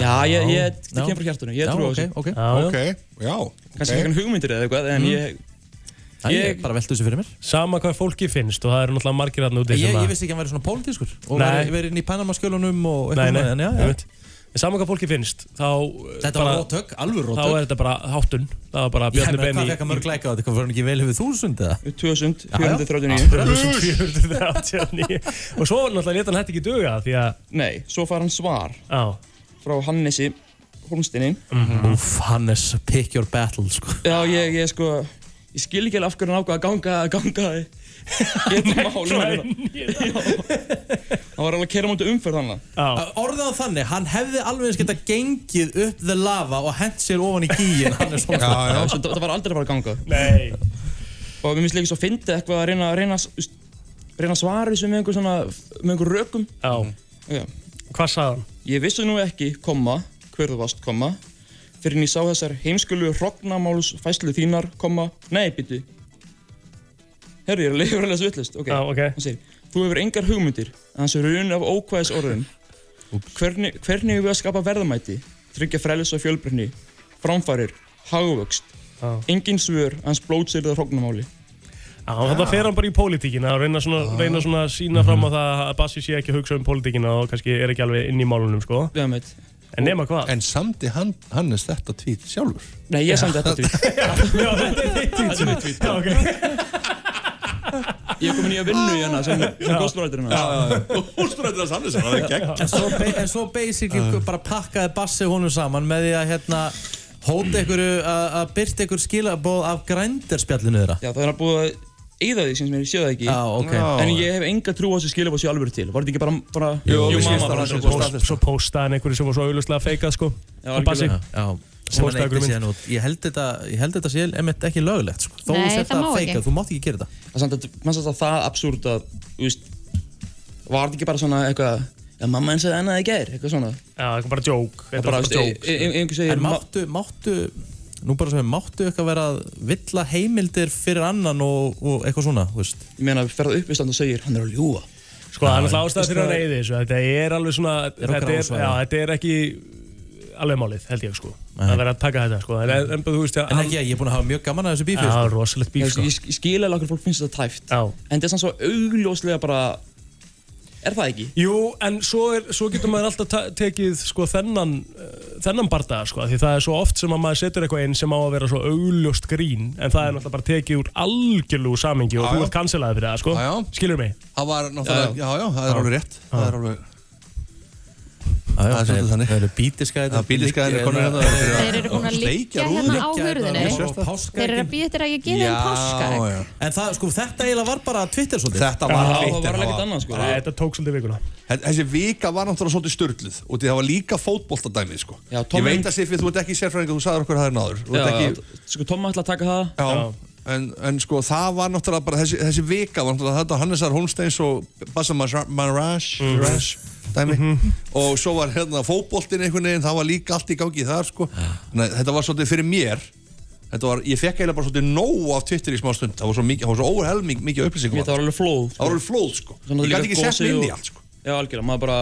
S13: Já, ég, ég,
S1: Já.
S13: þetta kemur frá hjartunum, ég
S1: Já,
S13: trú á
S1: ok,
S13: þessu
S1: ok. Já, já. Ok, já,
S13: Kannski
S1: ok.
S13: ekki hann hugmyndir eða eitthvað, en
S1: Mm.
S13: ég
S1: Æ, ég bara veltu þessu fyrir mér
S3: Sama hvað fólki finnst og það eru náttúrulega margir þarna úti
S1: Ég,
S3: sem
S1: ég
S3: að-
S1: vissi ekki að hann væri svona pólitískur Og
S3: Nei.
S1: væri, væri inn í Panamaskjölunum og
S3: Nei,
S1: eitthvað
S3: nei,
S1: svoleiðis, en um já, já.
S3: einmitt. En saman hvað fólki finnst, þá... eh,
S1: Þetta var róttök, alvöru róttök.
S3: Þá er þetta bara háttun. Það var bara
S1: Ég
S3: Bjarni
S1: meina,
S3: Benny...
S1: hvað fekk hann mörg læk á þetta? Hvað var hann ekki vel yfir þúsund eða?
S13: 2439
S3: 2439 Og svo náttúrulega leta hann hætti ekki duga því að
S13: Nei, svo far hann svar
S3: Já.
S13: Frá Hannesi Holmstinni
S1: Úf, Hannes, pick your battle sko.
S13: Já, ég, ég sko Ég skil ekki alveg af hverju hann ákvað að ganga Ganga Ég þetta máli Hann var alveg að kera mútið umferð hann
S1: Orðið á þannig, hann hefði alveg eins geta gengið upp the lava og hent sér ofan í gíin Hannes
S13: Já, já,
S1: Holmström.
S13: svo þetta þetta var aldrei að fara að ganga
S3: Nei
S13: Og mér finnst líka svo að fyndi eitthvað að reyna að reyna, að s- reyna að svara þessu með einhver svona með einhver rökum Já Já
S3: Hvað sagði hann?
S13: Ég vissi nú ekki, komma, hver þú varst, komma fyrir en ég sá þessar heimskulu hrognamáls fæslu þínar, komma Nei, býtu Herri, ég er alveg verið að svillast okay.
S3: Já, ok.
S13: Hann segir, þú hefur engar hugmyndir en hans er raun af ókvæðis orðum hvernig, hvernig hefur við að skapa verðamæti tryggja frelus og fjölbreytni framfærir, hagvöxt
S3: Já.
S13: engin svör, hans blótsýrða hrognamáli
S3: Já, þannig fer hann bara í pólitíkina og reyna svona, reyna svona að sína fram á
S13: Mhm.
S3: það að Bassi sé ekki að hugsa um pólitíkina og kannski er ekki alveg inn í málunum, sko.
S13: Já, meit.
S3: En nema hvað?
S8: En samdi hann, Hannes þetta tvít sjálfur?
S13: Nei, ég samdi þetta tweet.
S3: Já, þetta er þitt tweet.
S13: Þetta er mitt tweet,
S3: Já, ok.
S13: Ég er komin í að vinnu í hana sem, sem góðstúrættir hana
S8: Úrstúrættir hans Hannes, það er gegn
S1: En svo, ba- en svo basically bara pakkaði bassi honum saman með því að hérna hóta ykkur að að byrta ykkur skilaboð af grænderspjallinu þeirra
S13: Já, það er að búið að eyða því sem sem ég sé það ekki
S1: Já, ok.
S13: En ég hef enga trú á þessu skilabóð sér alveg til Var þetta ekki bara, bara
S3: Jú, við skilst
S13: bara
S3: hann
S13: þessu
S3: svo
S13: post.
S3: post- Svo postaði hann einhverju sem var svo auðvitað feikað, sko.
S13: Já,
S3: Og Bassi.
S1: Já, já. sem hann
S3: Postaði
S1: eitthvað
S3: einhverju mynd.
S1: síðan út ég held þetta, ég held þetta sé emitt ekki löglegt sko. þó
S2: Nei,
S1: þú sért
S2: það
S1: að
S2: má
S1: feika,
S2: ekki.
S1: þú mátt ekki gera þetta
S13: Það er samt að, maður samt að það absúrt að, þú veist Var þetta ekki bara svona eitthvað Já, mamma eins og ennaði í gær, eitthvað svona
S3: Já, eitthvað bara djók.
S13: Það bara, þú veist, e- e- einhver segir
S1: en máttu, máttu nú bara sem við, máttu eitthvað vera að villa heimildir fyrir annan og, og eitthvað svona, þú veist
S13: Ég meina, ferða upp í stand og segir, hann er að ljúa
S3: Sko, það er náttúrulega ástæða fyrir að reyði þessu. Þetta er alveg svona,
S13: Er okkar
S3: þetta er,
S13: ásvæði.
S3: já, þetta er ekki alveg málið, held ég, sko. Það verður að taka þetta, sko. En, en, en, þú veist,
S1: en ekki, ég er búin að hafa mjög gaman að þessu bífi
S3: Já,
S1: sko.
S3: rosalegt bíf, sko.
S13: Ég, ég skil alveg okkur fólk finnst þetta tæft
S3: Já.
S13: En þetta er samt svo augljóslega bara Er það ekki?
S3: Jú, en svo, er, svo getur maður alltaf ta- tekið sko, þennan, uh, þennan bardaða sko, því það er svo oft sem að maður setur eitthvað inn sem á að vera svo augljóst grín en það er náttúrulega bara tekið úr algjörlegu samengi og
S8: Já,
S3: þú
S8: já.
S3: ert cancelaði fyrir það, sko.
S8: Já, já.
S3: skilur mig?
S8: Það var náttúrulega, já, já, það er alveg rétt Það er alveg
S1: Já, já,
S8: Það er
S1: þeir-
S8: svolítið þannig
S1: þeir eru bítiskæðir
S8: Já, bítiskæðir eru konur hérna
S2: Þeir eru búin að liggja hérna á hurðinni Þeir eru að býja eftir að ég geði þeim páskaegg
S1: En það, sko, þetta eiginlega var bara Twitter svolítið
S8: Þetta var Já, Twitter, það var það
S13: ekkert var- annað, sko.
S3: Nei, þetta tók svolítið vikuna
S8: Þe- Þessi vika var náttúrulega svolítið störluð og því það var líka fótboltadæmið sko.
S13: Já,
S8: Ég
S13: Tommi-
S8: veit að Siffi, þú ert ekki sérfræðingar, þú sagðir okkur það er náður Þú
S13: Já,
S8: ert
S13: ekki... sko, Tomma ætla að taka það
S8: Já, en, en sko það var náttúrulega bara þessi, þessi vika var náttúrulega þetta Hannesar Holmsteins og Bassa Marash
S13: Mhm.
S8: mm. dæmi og svo var hérna fótboltinn einhvern veginn það var líka allt í gangi þar sko Þannig, að þetta var svolítið fyrir mér þetta var, ég fekk eiginlega bara svolítið nóg af Twitter í smá stund það var svo mikið, það var svo óhelming mikið upplýsingum
S13: Mér, það var alveg flóð
S8: Það var alveg flóð sko Ég gæti ekki sett mig inn í allt sko
S13: Já, algjörlega, maður bara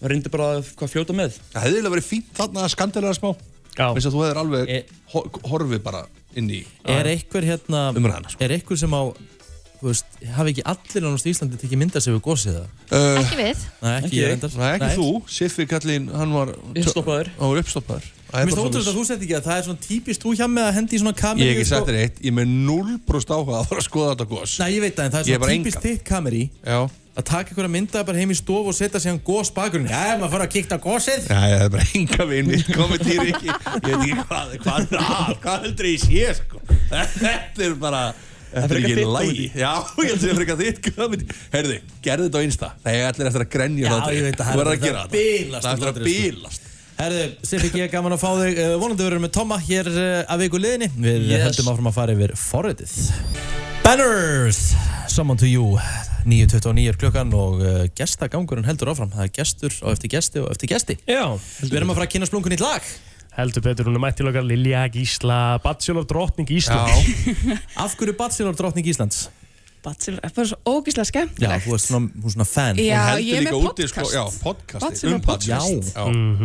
S13: maður reyndi bara að- hvað fljóta með
S8: Það hefði eiginlega verið fínt þarna að skandilega smá
S3: Já
S8: Veist að þú hefur alveg ho horfið bara inn í
S1: Er einhver hérna
S8: Umræðan, sko.
S1: Er einhver sem á Þú veist Hafi ekki allir ánast í Íslandi Tekki mynda sig við gósið það
S8: Uh,
S2: Ekki við
S1: Nei, ekki Eh, ég reyndar.
S8: Nei, ekki
S1: Nei.
S8: þú, Siffi kallinn, hann var
S13: Uppstoppaður
S8: Hann var uppstoppaður
S1: Mér finnst ótrúlega að þú sett ekki að það er svona típist þú hjá með að hendi í svona kameri
S8: Ég hef ekki sagt þér eitt, ég er með 0% áhuga að fara að skoða þetta gos
S1: Nei, ég veit það, en það er
S8: Ég er
S1: svona
S8: bara
S1: típist
S8: engan.
S1: þitt kameri
S8: Já
S1: Að taka einhverja mynda bara heim í stofu og setja sig hann gós bakurinn Já, maður fara að kíkta á gósið
S8: Já, já, það er bara enga vinn mitt komið til ekki Ég veit ekki hvað, hvað er að, hvað heldur ég sé, sko Þetta er bara, Þetta er ekki lægi Já, ég held að það er eitthvað þitt comedy. Heyrðu, gerðu þetta á Insta Það er allir eftir að grenja
S1: Já,
S8: hlátri.
S1: ég veit að
S8: Þú
S1: það
S8: verður
S1: er
S8: að gera þetta
S1: bilast
S8: Það er eftir að bíla
S1: Herðu, Sifik, ég er gaman að fá þig uh, vonandi verður með Tomma hér uh, að viku liðinni Við
S12: Yes.
S1: höldum áfram að fara yfir forritið Banners, Someone to you 9.29 er klukkan og uh, gestagangurinn heldur áfram Það er gestur og eftir gesti og eftir gesti
S3: Já
S1: Við erum að fara að kynna splungun í lag
S3: Heldur betur, hún er mætt til okkar Lilja Gísla, Bachelor drottning Ísland
S1: Af hverju Bachelor drottning Íslands?
S14: Bachelor er bara svo ógíslega skemmt
S1: Já, þú ert svona, hún er svona fan
S14: Já,
S1: Hún heldur
S14: ég er
S1: líka
S14: með
S8: sko.
S1: úti,
S14: podcast.
S1: Já, podcasti
S8: um
S14: Bachelor podcast.
S1: Já,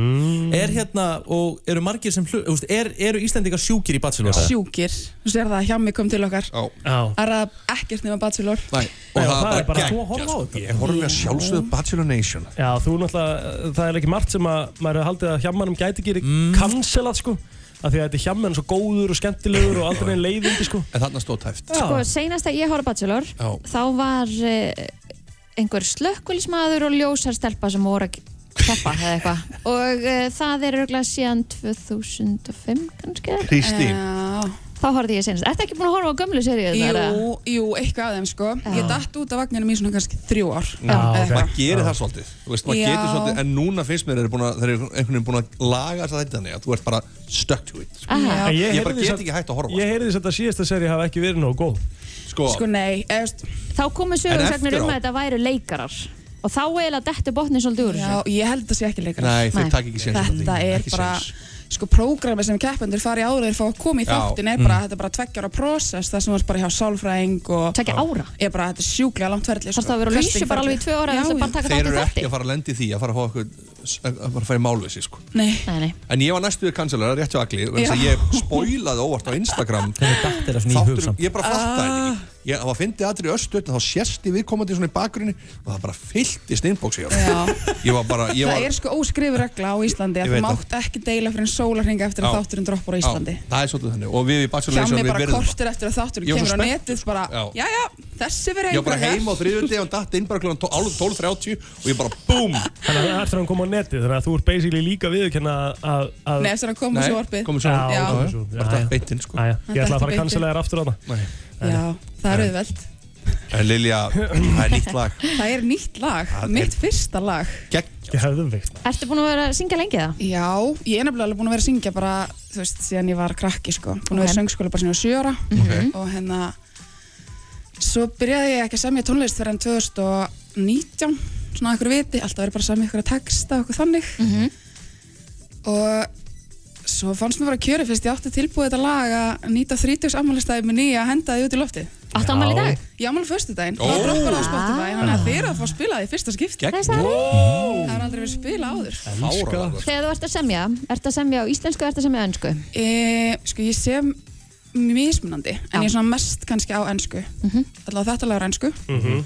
S8: Mm.
S1: Er hérna, og eru margir sem hlu, úst, er, eru Íslendingar sjúkir í Bachelor?
S14: Sjúkir, þú sér það, hjá mig kom til okkar
S8: Já
S3: Já
S14: Það er að ekkert nema Bachelor
S8: Nei,
S3: Nei,
S8: og
S3: og
S8: það
S3: það
S8: er bara
S3: er bara þú að
S8: geggjað,
S3: horfa á
S8: sko.
S3: þetta.
S8: Ég horfði að
S3: Já.
S8: sjálfsögðu Bachelor Nation
S3: Já, þú náttúrulega, það er ekki margt sem að maður hefur haldið að hjammanum gæti ekki mm. kanselað sko af því að þetta er hjamman svo góður og skemmtilegur og aldrei einn leiðindi sko
S8: En þarna stóð tæft
S2: Sko, seinast að ég horf á Bachelor
S8: Já.
S2: þá var uh, einhver slökkulismadur og ljósarstelpa sem voru að keppa eða eitthvað og uh, það er örgulega síðan 2005 kannski eða?
S8: Kristín.
S2: Þá horfði ég seinast Ertu ekki búin að horfa á gömlu seríu?
S14: Jú, jú, eitthvað af þeim sko Ég datt út af vagninum í svona kannski þrjú ár Eða eitthvað.
S8: maður gerir það svolítið, þú veist, maður
S14: Já.
S8: getur svolítið en núna finnst mér þeir eru búin að, þeir eru einhvern veginn búin að laga þess að þetta þannig að þú ert bara stuck to it sko.
S3: En
S8: ég,
S3: heyrði
S8: bara
S3: þess
S8: get
S3: að-
S8: ekki hægt að horfa
S3: Ég heyrði þess að þetta síðasta seri hafa ekki verið nógu góð
S8: Sko,
S14: Sko nei, eðst
S2: Þá komu sögursagnir
S3: eftir á?
S2: um að þetta væru leikarar og þá eiginlega dettu botni svolítið úr
S14: Já, ég held að það sé ekki leikar
S8: Nei, þeir taka ekki sénsinn á því.
S14: Þetta er
S8: Ekki
S14: bara,
S8: séns.
S14: sko, prógrami sem keppendur fari ára þeir fá að koma í
S8: Já.
S14: þáttin er
S8: Mm.
S14: bara, þetta er bara tveggjára process það sem er bara hjá sálfræðing og
S2: Tveggja ára?
S14: Ég bara, þetta er sjúklega langt ferli sko.
S2: Þarftu að vera á lausu bara alveg í tvö ár eða þarftu bara að taka
S8: þeir
S2: þátt í
S8: eru
S2: þætti?
S8: ekki að fara að lenda í því að fara að fá okkur að fara að fara í málvisi sko.
S14: Nei.
S2: Nei, nei.
S8: en ég var næstu við kanselara rétt hjá Agli vegna þess að
S2: Já.
S8: ég spoilaði óvart á Instagram þáttur, ég bara fattaði þetta ekki ég það var fyndið aðri östu þá sérst ég viðkomandi svona í bakgrunni og það bara fylltist innbóksi ég var bara ég
S14: Það
S8: var,
S14: er sko óskrifur regla á Íslandi
S8: Ég
S14: að þú
S8: veit það.
S14: mátt ekki deila fyrir en sólarhinga eftir
S8: Já.
S14: að þátturinn droppar á Íslandi
S8: Já, það er svolítið þannig og við í Bachelor
S14: Hjá
S8: Nation
S14: mig
S8: við
S14: bara
S8: verðum það.
S14: kortir eftir að þátturinn
S8: Ég var
S14: kemur
S8: svo
S14: á netið bara,
S8: Já.
S14: já, já, þessi verið
S8: Ég var bara heima á þriðvöldi og datt inn bara kl. 12.30 og ég bara BOOM
S3: Þannig að það er það að koma á netið þannig að þú ert basically líka viðurkenna að, að
S14: Nei, eftir að hann kom á
S3: Nei,
S14: sjónvarpið.
S3: kom á sjónvarpið.
S14: Já.
S3: Já, kom á sjónvarpið.
S8: Bara
S3: Já,
S8: datt
S3: já.
S8: beint inn, sko.
S3: Já, já. Ég ætla
S14: datt
S3: að fara
S14: beint
S3: að kansla
S14: inn.
S3: þér aftur á það
S14: Já, það er auðvelt
S8: En Lilja, það er nýtt lag
S14: Það er nýtt lag,
S8: Það er-
S14: mitt fyrsta lag
S3: Geðveikt.
S2: Ertu búin að vera að syngja lengi það?
S14: Já, ég er nefnilega alveg búin að vera að syngja bara, þú veist, síðan ég var krakki, sko. Búin að vera í
S2: Ok.
S14: söngskóla bara síðan á sjöra
S2: Mhm.
S14: og hérna, svo byrjaði ég ekki að semja tónlist fyrir en 2019, svona að ykkur viti, alltaf verið bara að semja ykkur að texta og eitthvað þannig.
S2: Mhm.
S14: Og svo fannst mér bara kjöri fyrst ég átti tilbúið þetta lag að nýta 30 ammálistæði með nýja að henda því út í loftið.
S2: Áttu afmæli í dag?
S14: Ég afmæli fyrstu daginn,
S2: Ó.
S14: það droppar á Spotify, þannig að
S2: Ah.
S14: þið eru að fá að spila það í fyrsta skipti.
S2: Gegn. Það er
S14: Það er aldrei verið spila áður.
S2: Þegar þú ert að semja, ert að semja á íslensku eða ert að semja á ennsku?
S14: E, sko, ég sem mismunandi, en ég er svona mest kannski á ennsku. Mm -hmm. þetta lagur ennsku
S3: Mhm.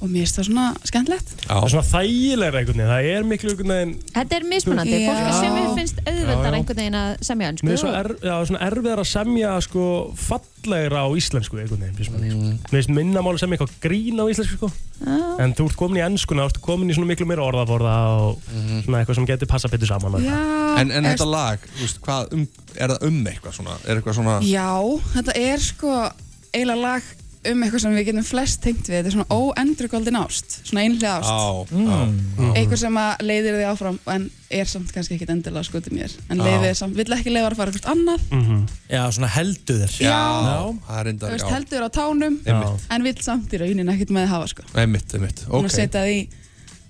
S14: og mér finnst það svona skemmtilegt.
S3: Það er svona þægilega einhvern veginn, það er miklu einhvern veginn
S2: Þetta er mismunandi,
S14: Já.
S2: fólk sem mér finnst
S3: Já,
S2: auðveldar
S3: já.
S2: einhvern veginn að semja á
S3: Mér
S2: ennsku
S3: er svo er, já, svona erfiðar að semja sko fallegra á íslensku einhvern veginn, finnst mér, sko. Mér finnst minna máli að semja eitthvað grín á íslensku sko.
S2: Já.
S3: En þú ert komin í ennskuna, þú ert komin í svona miklu meira orðaforða og svona eitthvað sem getur passað betur saman og eitthvað.
S8: En, en
S14: er-
S8: þetta lag, þú veist, hvað, um, er það um eitthvað svona? Er eitthvað svona
S14: Já, þetta er sko eiginlega lag um eitthvað sem við getum flest tengt við, þetta er svona óendurgóldin ást, svona einhlega ást.
S8: Á, á,
S3: Mm.
S8: á.
S14: Eitthvað sem að leiðir þig áfram en er samt kannski ekkit endilega skotið mér en
S1: Já.
S14: leiðir þig samt, vill ekki leiða að fara hvert annað
S1: Já, svona heldu þér
S14: Já.
S8: það er
S14: þú
S8: enda,
S14: veist,
S8: já
S14: heldur á tánum
S8: Einmitt.
S14: en vill samt í rauninni ekkert með hafa sko.
S8: Einmitt, einmitt,
S14: okay.
S8: ok
S14: að setja því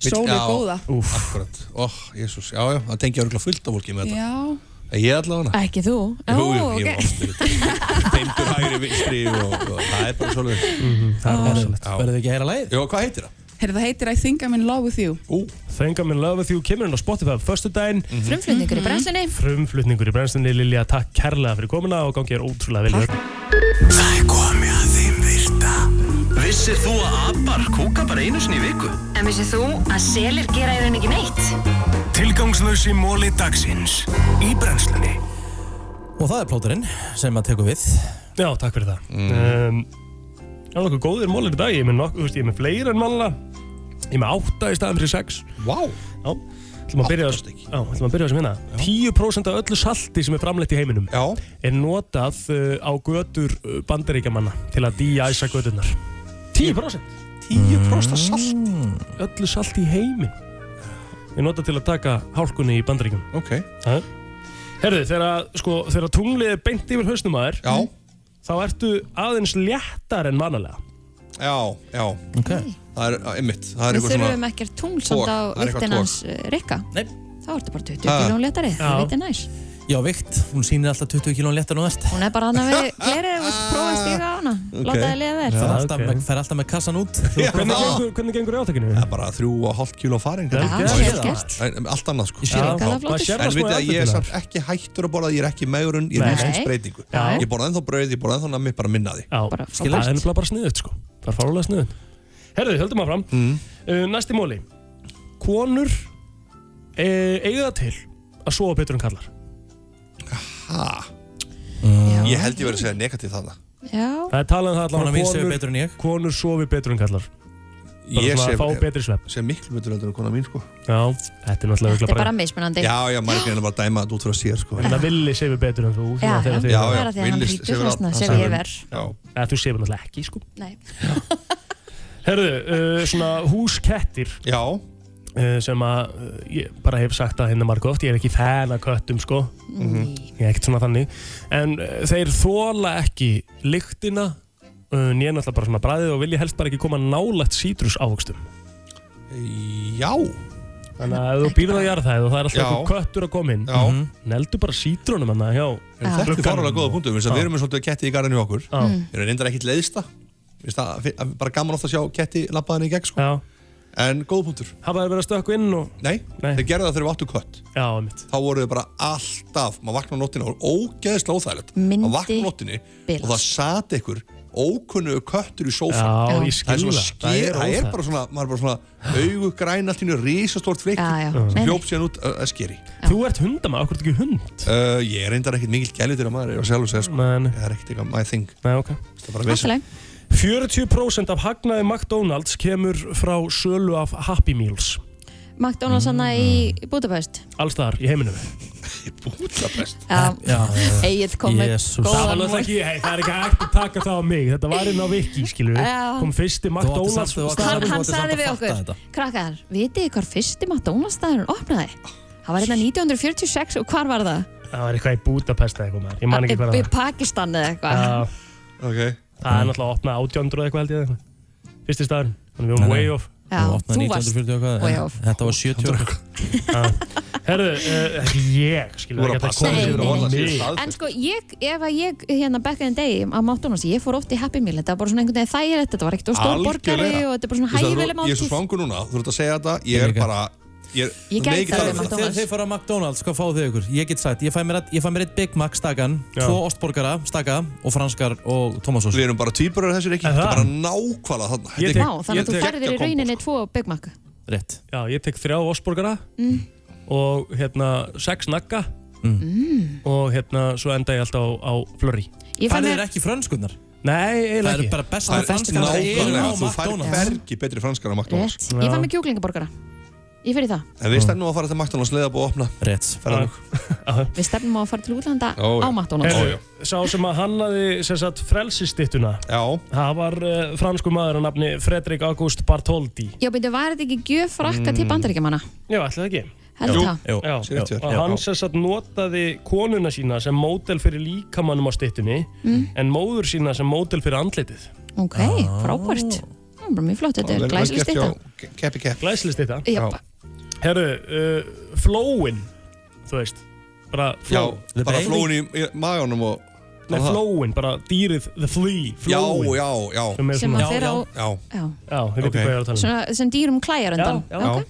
S8: Vill-
S14: sólu
S8: já,
S14: góða
S8: Úff, akkurat, óh, jésús, já, já, það tengja örgulega fullt af fólki með þetta
S14: já,
S8: En Ég ætla hana
S2: Ekki þú?
S8: Jú, jú,
S2: Ó,
S8: ég var
S2: ok.
S8: oftur Tindur hægri vinstri og, og það er bara svolítið
S3: Það er
S8: rosalegt Verður þið ekki að heyra lagið? Jó, hvað heitir það?
S14: heyrðu það heitir I think I'm in love with you
S8: Ú.
S3: Þengar minn love with you kemur inn á Spotify á förstu daginn.
S2: Frumflutningur í brennslunni.
S3: Frumflutningur í brennslunni, Lilja, takk kærlega fyrir komuna og gangi er ótrúlega vel. Takk.
S12: Það er komið að þeim virta Vissir þú að abar kúka bara einu sinni í viku?
S15: En vissið þú að selir gera í rauninni ekki neitt?
S12: Tilgangslösi móli dagsins Í brennslunni
S1: Og það er plóturinn sem að tekur við
S3: Já, takk fyrir það um, Það er nokkuð góðir mólir í dag Ég er með, nokkuð, þú veist, ég er með fleiri en mannlega Ég er með átta í staðan fyrir sex
S8: Vá
S3: Já ætlum að byrja á- Já, ætlum að byrja á þessum hérna 10% af öllu salti sem er framleitt í heiminum
S8: Já.
S3: er notað uh, á götur uh, bandaríkjamanna til að díæsa göturnar 10%? 10% af salt? Öllu salt í heimin er notað til að taka hálkunni í bandaríkjum
S8: Ok
S3: Herðu, þegar, sko, þegar tunglið er beint yfir hausnum að þér Já Þá ertu aðeins léttar en vanalega
S8: Já, já
S1: okay.
S8: Það er einmitt Það er
S2: Við
S8: eitthvað svona
S2: þurfum ekkert tungl
S8: tog.
S2: samt á
S8: Það er eitthvað
S2: viktin
S8: tog.
S2: hans eh, Rikka.
S1: Nei.
S2: Þá ertu bara 20
S1: Ha.
S2: kílón léttari, það
S1: Já.
S2: veit ég næs.
S1: Já, vikt, hún sýnir alltaf 20 kílón léttar nú ert
S2: Hún er bara annað við glerið, þú vilt prófa að stíga á hana, láta þið liða
S1: Það er
S2: þér.
S1: alltaf, með, fer alltaf með kassan út
S3: Hvernig gengur, hvernig gengur átökinu?
S8: Það er bara þrjú og hálf kíló farin
S1: Já,
S8: kannski.
S1: Já, vel
S8: það.
S1: gert.
S8: En Allt annað sko
S1: Ég sé Já, líka það flottur. maður sér það
S8: En
S1: smá í
S3: sko
S8: veit að ég er
S1: andlitinu
S8: samt ekki hættur að borða Ég er ekki meðurinn, ég
S3: Nei.
S8: er lífsins breytingu
S3: Já.
S8: Ég borða ennþá brauð, ég borða ennþá nammi, bara minna því
S3: Já, það er nefnilega bara sniðut sko Það er farulega sniðut Herðu, höldum áfram mm. uh, Næsti móli Konur eh, eiga það til að sofa betur en kallar
S8: Ha? Ég held ég verið að segja negativ þarna
S2: Já.
S3: Það er talað um það
S8: Konan mín sefur betur
S1: en ég
S3: Konur sofi betur en kallar Bara
S8: Ég
S3: svona
S8: sé-
S3: að fá betri svepp
S8: Segja miklu betur heldur en konan mín sko
S3: Já, þetta er náttúrulega
S2: Þetta er bara mismunandi.
S8: Já, já, maður er ekki enn að bara dæma þetta út frá sér sko
S3: En það villi sefi betur en þú
S2: Já,
S3: þegar-
S2: já,
S3: þegar þið-
S2: já, það er að því að hann
S8: Willis
S2: hlýtur
S8: sefur
S2: þess vegna
S8: allt-
S2: sef ég
S8: hann
S2: verð.
S8: Já
S3: Eða þú sefur náttúrulega ekki sko
S2: Nei.
S3: Herðu, uh, svona húskettir
S8: Já
S3: sem að uh, ég bara hef sagt að hérna margótt ég er ekki fæn að köttum sko
S2: Nei.
S3: ég er ekkert svona þannig en uh, þeir þóla ekki lyktina uh, nýja náttúrulega bara svona bræðið og vilja helst bara ekki koma nálægt sítrus ávöxtum
S8: Já
S3: Þannig að ef þú býrð á jarðhæð og það er alltaf
S8: Já.
S3: einhver köttur að koma inn
S8: Já.
S3: Mhm. Neldu bara sítrónum hann hjá
S8: En þetta er farulega góða punktum Við erum með svolítið ketti í garðinu hjá okkur
S3: Já. Mm.
S8: Við erum reyndar ekkit leiðista Mér finnst það- að- Bara gaman ofta að sjá ketti labbaðan í gegn sko
S3: Já.
S8: En góð punktur
S3: Hafa þeir verið að stökku inn og...
S8: Nei, þeir gerðu það þegar við áttum kött
S3: Já, mitt
S8: Þá voru þau bara alltaf Maður vaknaði á nóttinni og ógeðslega óþægilegt
S2: Myndi
S8: Maður vaknaði á nóttinni
S2: bilast.
S8: og það sat ykkur ókunnu köttur í sófan
S3: Já, ég
S8: Það er
S3: skil
S8: svona
S3: það.
S8: sker, það
S3: Það er
S8: er,
S3: óþægilegt.
S8: bara svona Maður er bara svona augu græn allt í hennu Rísastort frikki
S2: Já, já. Nei,
S8: sem
S2: nei.
S8: hljóp síðan út að skeri
S3: Þú ert hundama, okkur ekki hund
S8: uh, Ég er reyndar ekkit mikill gælitur að maður Ég var sjálf að segja sko
S3: Men.
S8: Það er ekkit eitthvað my thing
S3: Nei, ok
S8: Það er bara vesen.
S3: 40% af hagnaði McDonalds kemur frá sölu af Happy Meals
S2: McDonalds hana í Budapest.
S3: Alls þar í heiminum
S8: Budapest
S2: Já.
S3: Já, já.
S2: Egil kom með
S3: Jesus. Það var
S2: góðan
S3: náttúrulega
S2: mól.
S3: ekki, hey, það er ekki hægt að taka það á mig Þetta var inn á Viki, skilur við
S2: Já.
S3: Kom fyrsti McDonalds
S1: samt- þú átti
S2: Hann,
S3: staðurinn.
S2: hann sagði við okkur, krakkar, vitið þið hvar fyrsti McDonalds staðurinn opnaði? Það var hérna 1946 og hvar var það?
S3: Það var eitthvað í Budapest eða eitthvað maður Ég man ekki hvað
S2: Upp
S3: það
S2: í Pakistan eða eitthvað.
S3: var Já.
S8: okay.
S3: Það er náttúrulega opnað 1800 eitthvað held ég eða eitthvað. Fyrsti staðurinn, þannig við
S1: Nei,
S3: erum
S1: nei.
S3: way off
S2: Já,
S1: Þú opnaði
S2: þú varst
S1: 1940 og hvað
S2: way
S1: en
S2: off.
S1: Þetta var 70 og eitthvað
S3: Herðu, uh, ekki ég, skilur
S1: Þú voru að
S3: ekki
S1: passa
S3: komið
S1: þig fyrir
S3: yfir á
S1: að horfa
S3: mig.
S1: síðan staðfest.
S2: En sko, ég, ef að ég hérna back in the day á McDonalds, ég fór oft í Happy Meal, þetta var bara svona einhvern veginn þægilegt, þetta var ekkert og stór borgari
S8: Algjörlega.
S2: og þetta er bara svona
S8: Þú veist að
S2: hægilega
S8: þú- Ég er svo
S2: máltíð.
S8: svangur núna, þú ert að segja þetta Ég er bara Ég, er-
S2: Ég gæti
S8: mikið
S2: það um
S8: þarf-
S2: við McDonald's.
S1: Þegar þið fara á McDonalds, hvað fáðu þið ykkur? Ég get sagt, ég fæ mér, að- ég fæ mér eitt Big Mac stakan,
S8: Já.
S1: tvo ostborgara staka og franskar og tómasós Við
S8: erum bara týpurar þessir ekki, þetta er bara nákvæmlega þarna
S1: Ég
S2: Vá, þannig að þú færðir í rauninni tvo Big Mac.
S1: Rétt
S3: Já, ég tek þrjá osborgara
S2: Mm.
S3: og hérna sex nagga
S2: Mm.
S3: og hérna svo enda ég alltaf á, á flurri
S2: Ég fæ Farið mér-
S1: þér ekki frönskunnar?
S3: Nei,
S1: Það
S3: eiginlega
S1: eru
S3: ekki
S1: bara bestu
S8: Það er
S1: franskar sem eru á
S8: nákvæmlega, þú fær
S1: McDonald's.
S8: hvergi betri franskar á McDonalds
S2: Rétt. Ég fæ mér kjúklingaborgara. Ég fyrir það.
S8: En við stennum að fara til McDonalds leða búið að opna
S1: Rétt
S2: Við stefnum á að fara til útlanda
S8: Ó, já.
S2: á McDonalds.
S8: Ó, já.
S3: Sá sem að hannaði sem sagt frelsistittuna
S8: Já
S3: Það var uh, fransku maður að nafni Fredrik August Bartholdi
S2: Já, byrju, var þetta ekki gjöf frakka til
S3: Mm.
S2: bandaríkjamanna?
S3: Já, ætlaði ekki
S2: Held Jú, það.
S3: Jú, já,
S8: sé rétt hjá
S3: já.
S8: þér.
S3: Og
S8: Já.
S3: hann sem sagt notaði konuna sína sem mótel fyrir líkamannum á stittunni
S2: Mm.
S3: en móður sína sem mótel fyrir andlitið
S2: Ok, frábært. Það er bara mjög flott, þetta er glæsileg stýta.
S8: Keppi kepp
S3: Glæsilist þetta
S2: Já.
S3: Herru, uh, flóin Þú veist Bara
S8: Já,
S3: fló
S8: bara flóin í, í maganum og
S3: Nei, flóin, bara dýrið The flea
S8: Já,
S3: flóin.
S8: já, já
S3: Sem,
S2: Sem að fer á...
S8: Já,
S2: Já.
S3: já þið veitir
S8: Ok.
S3: hvað ég er að tala um
S2: Svona, sem dýrum klæjar undan.
S3: Já, já.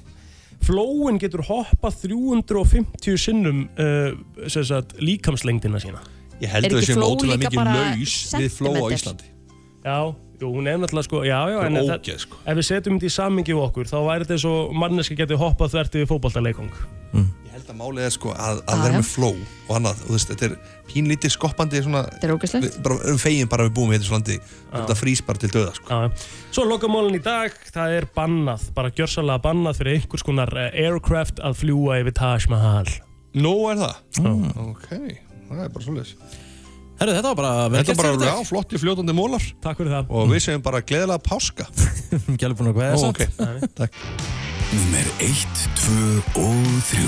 S3: Flóin getur hoppað 350 sinnum uh, sem sagt, líkamslengdina sína
S8: Ég held Er að við ekki séum fló ótrúlega líka mikið bara laus við fló á sentimeter? Íslandi.
S3: Já, jú, hún er sko. náttúrulega sko Já, já,
S8: Það er
S3: en
S8: ógeð,
S3: það- ef við setjum þetta í samingi við okkur þá væri þetta eins og manneski getið hoppað þvert yfir fótballtaleikong
S8: Ég held Þetta málið er sko að, að vera með flow og annað, og þú veist, þetta er pínlítið skoppandi svona,
S2: Þetta er ógæslegt
S8: við- bara um fegin bara að við búum í þessu landi þetta frýs bara til döða sko.
S3: Svo lokamólin í dag, það er bannað, bara gjörsalega bannað fyrir einhvers konar eh, aircraft að fljúa yfir Taj Mahal.
S8: Nú er það? Ah, Ok, það er bara svolítið
S1: Herru, þetta var bara vel
S8: Þetta
S1: gert
S8: var
S1: hjá
S8: bara
S1: þér.
S8: já, flotti fljótandi mólar
S3: Takk fyrir það
S8: Og við segjum bara gleðilega páska
S1: Gjálfur búin að kveða
S8: Ó,
S1: samt.
S8: ok. Takk
S4: Númer 1, 2 og 3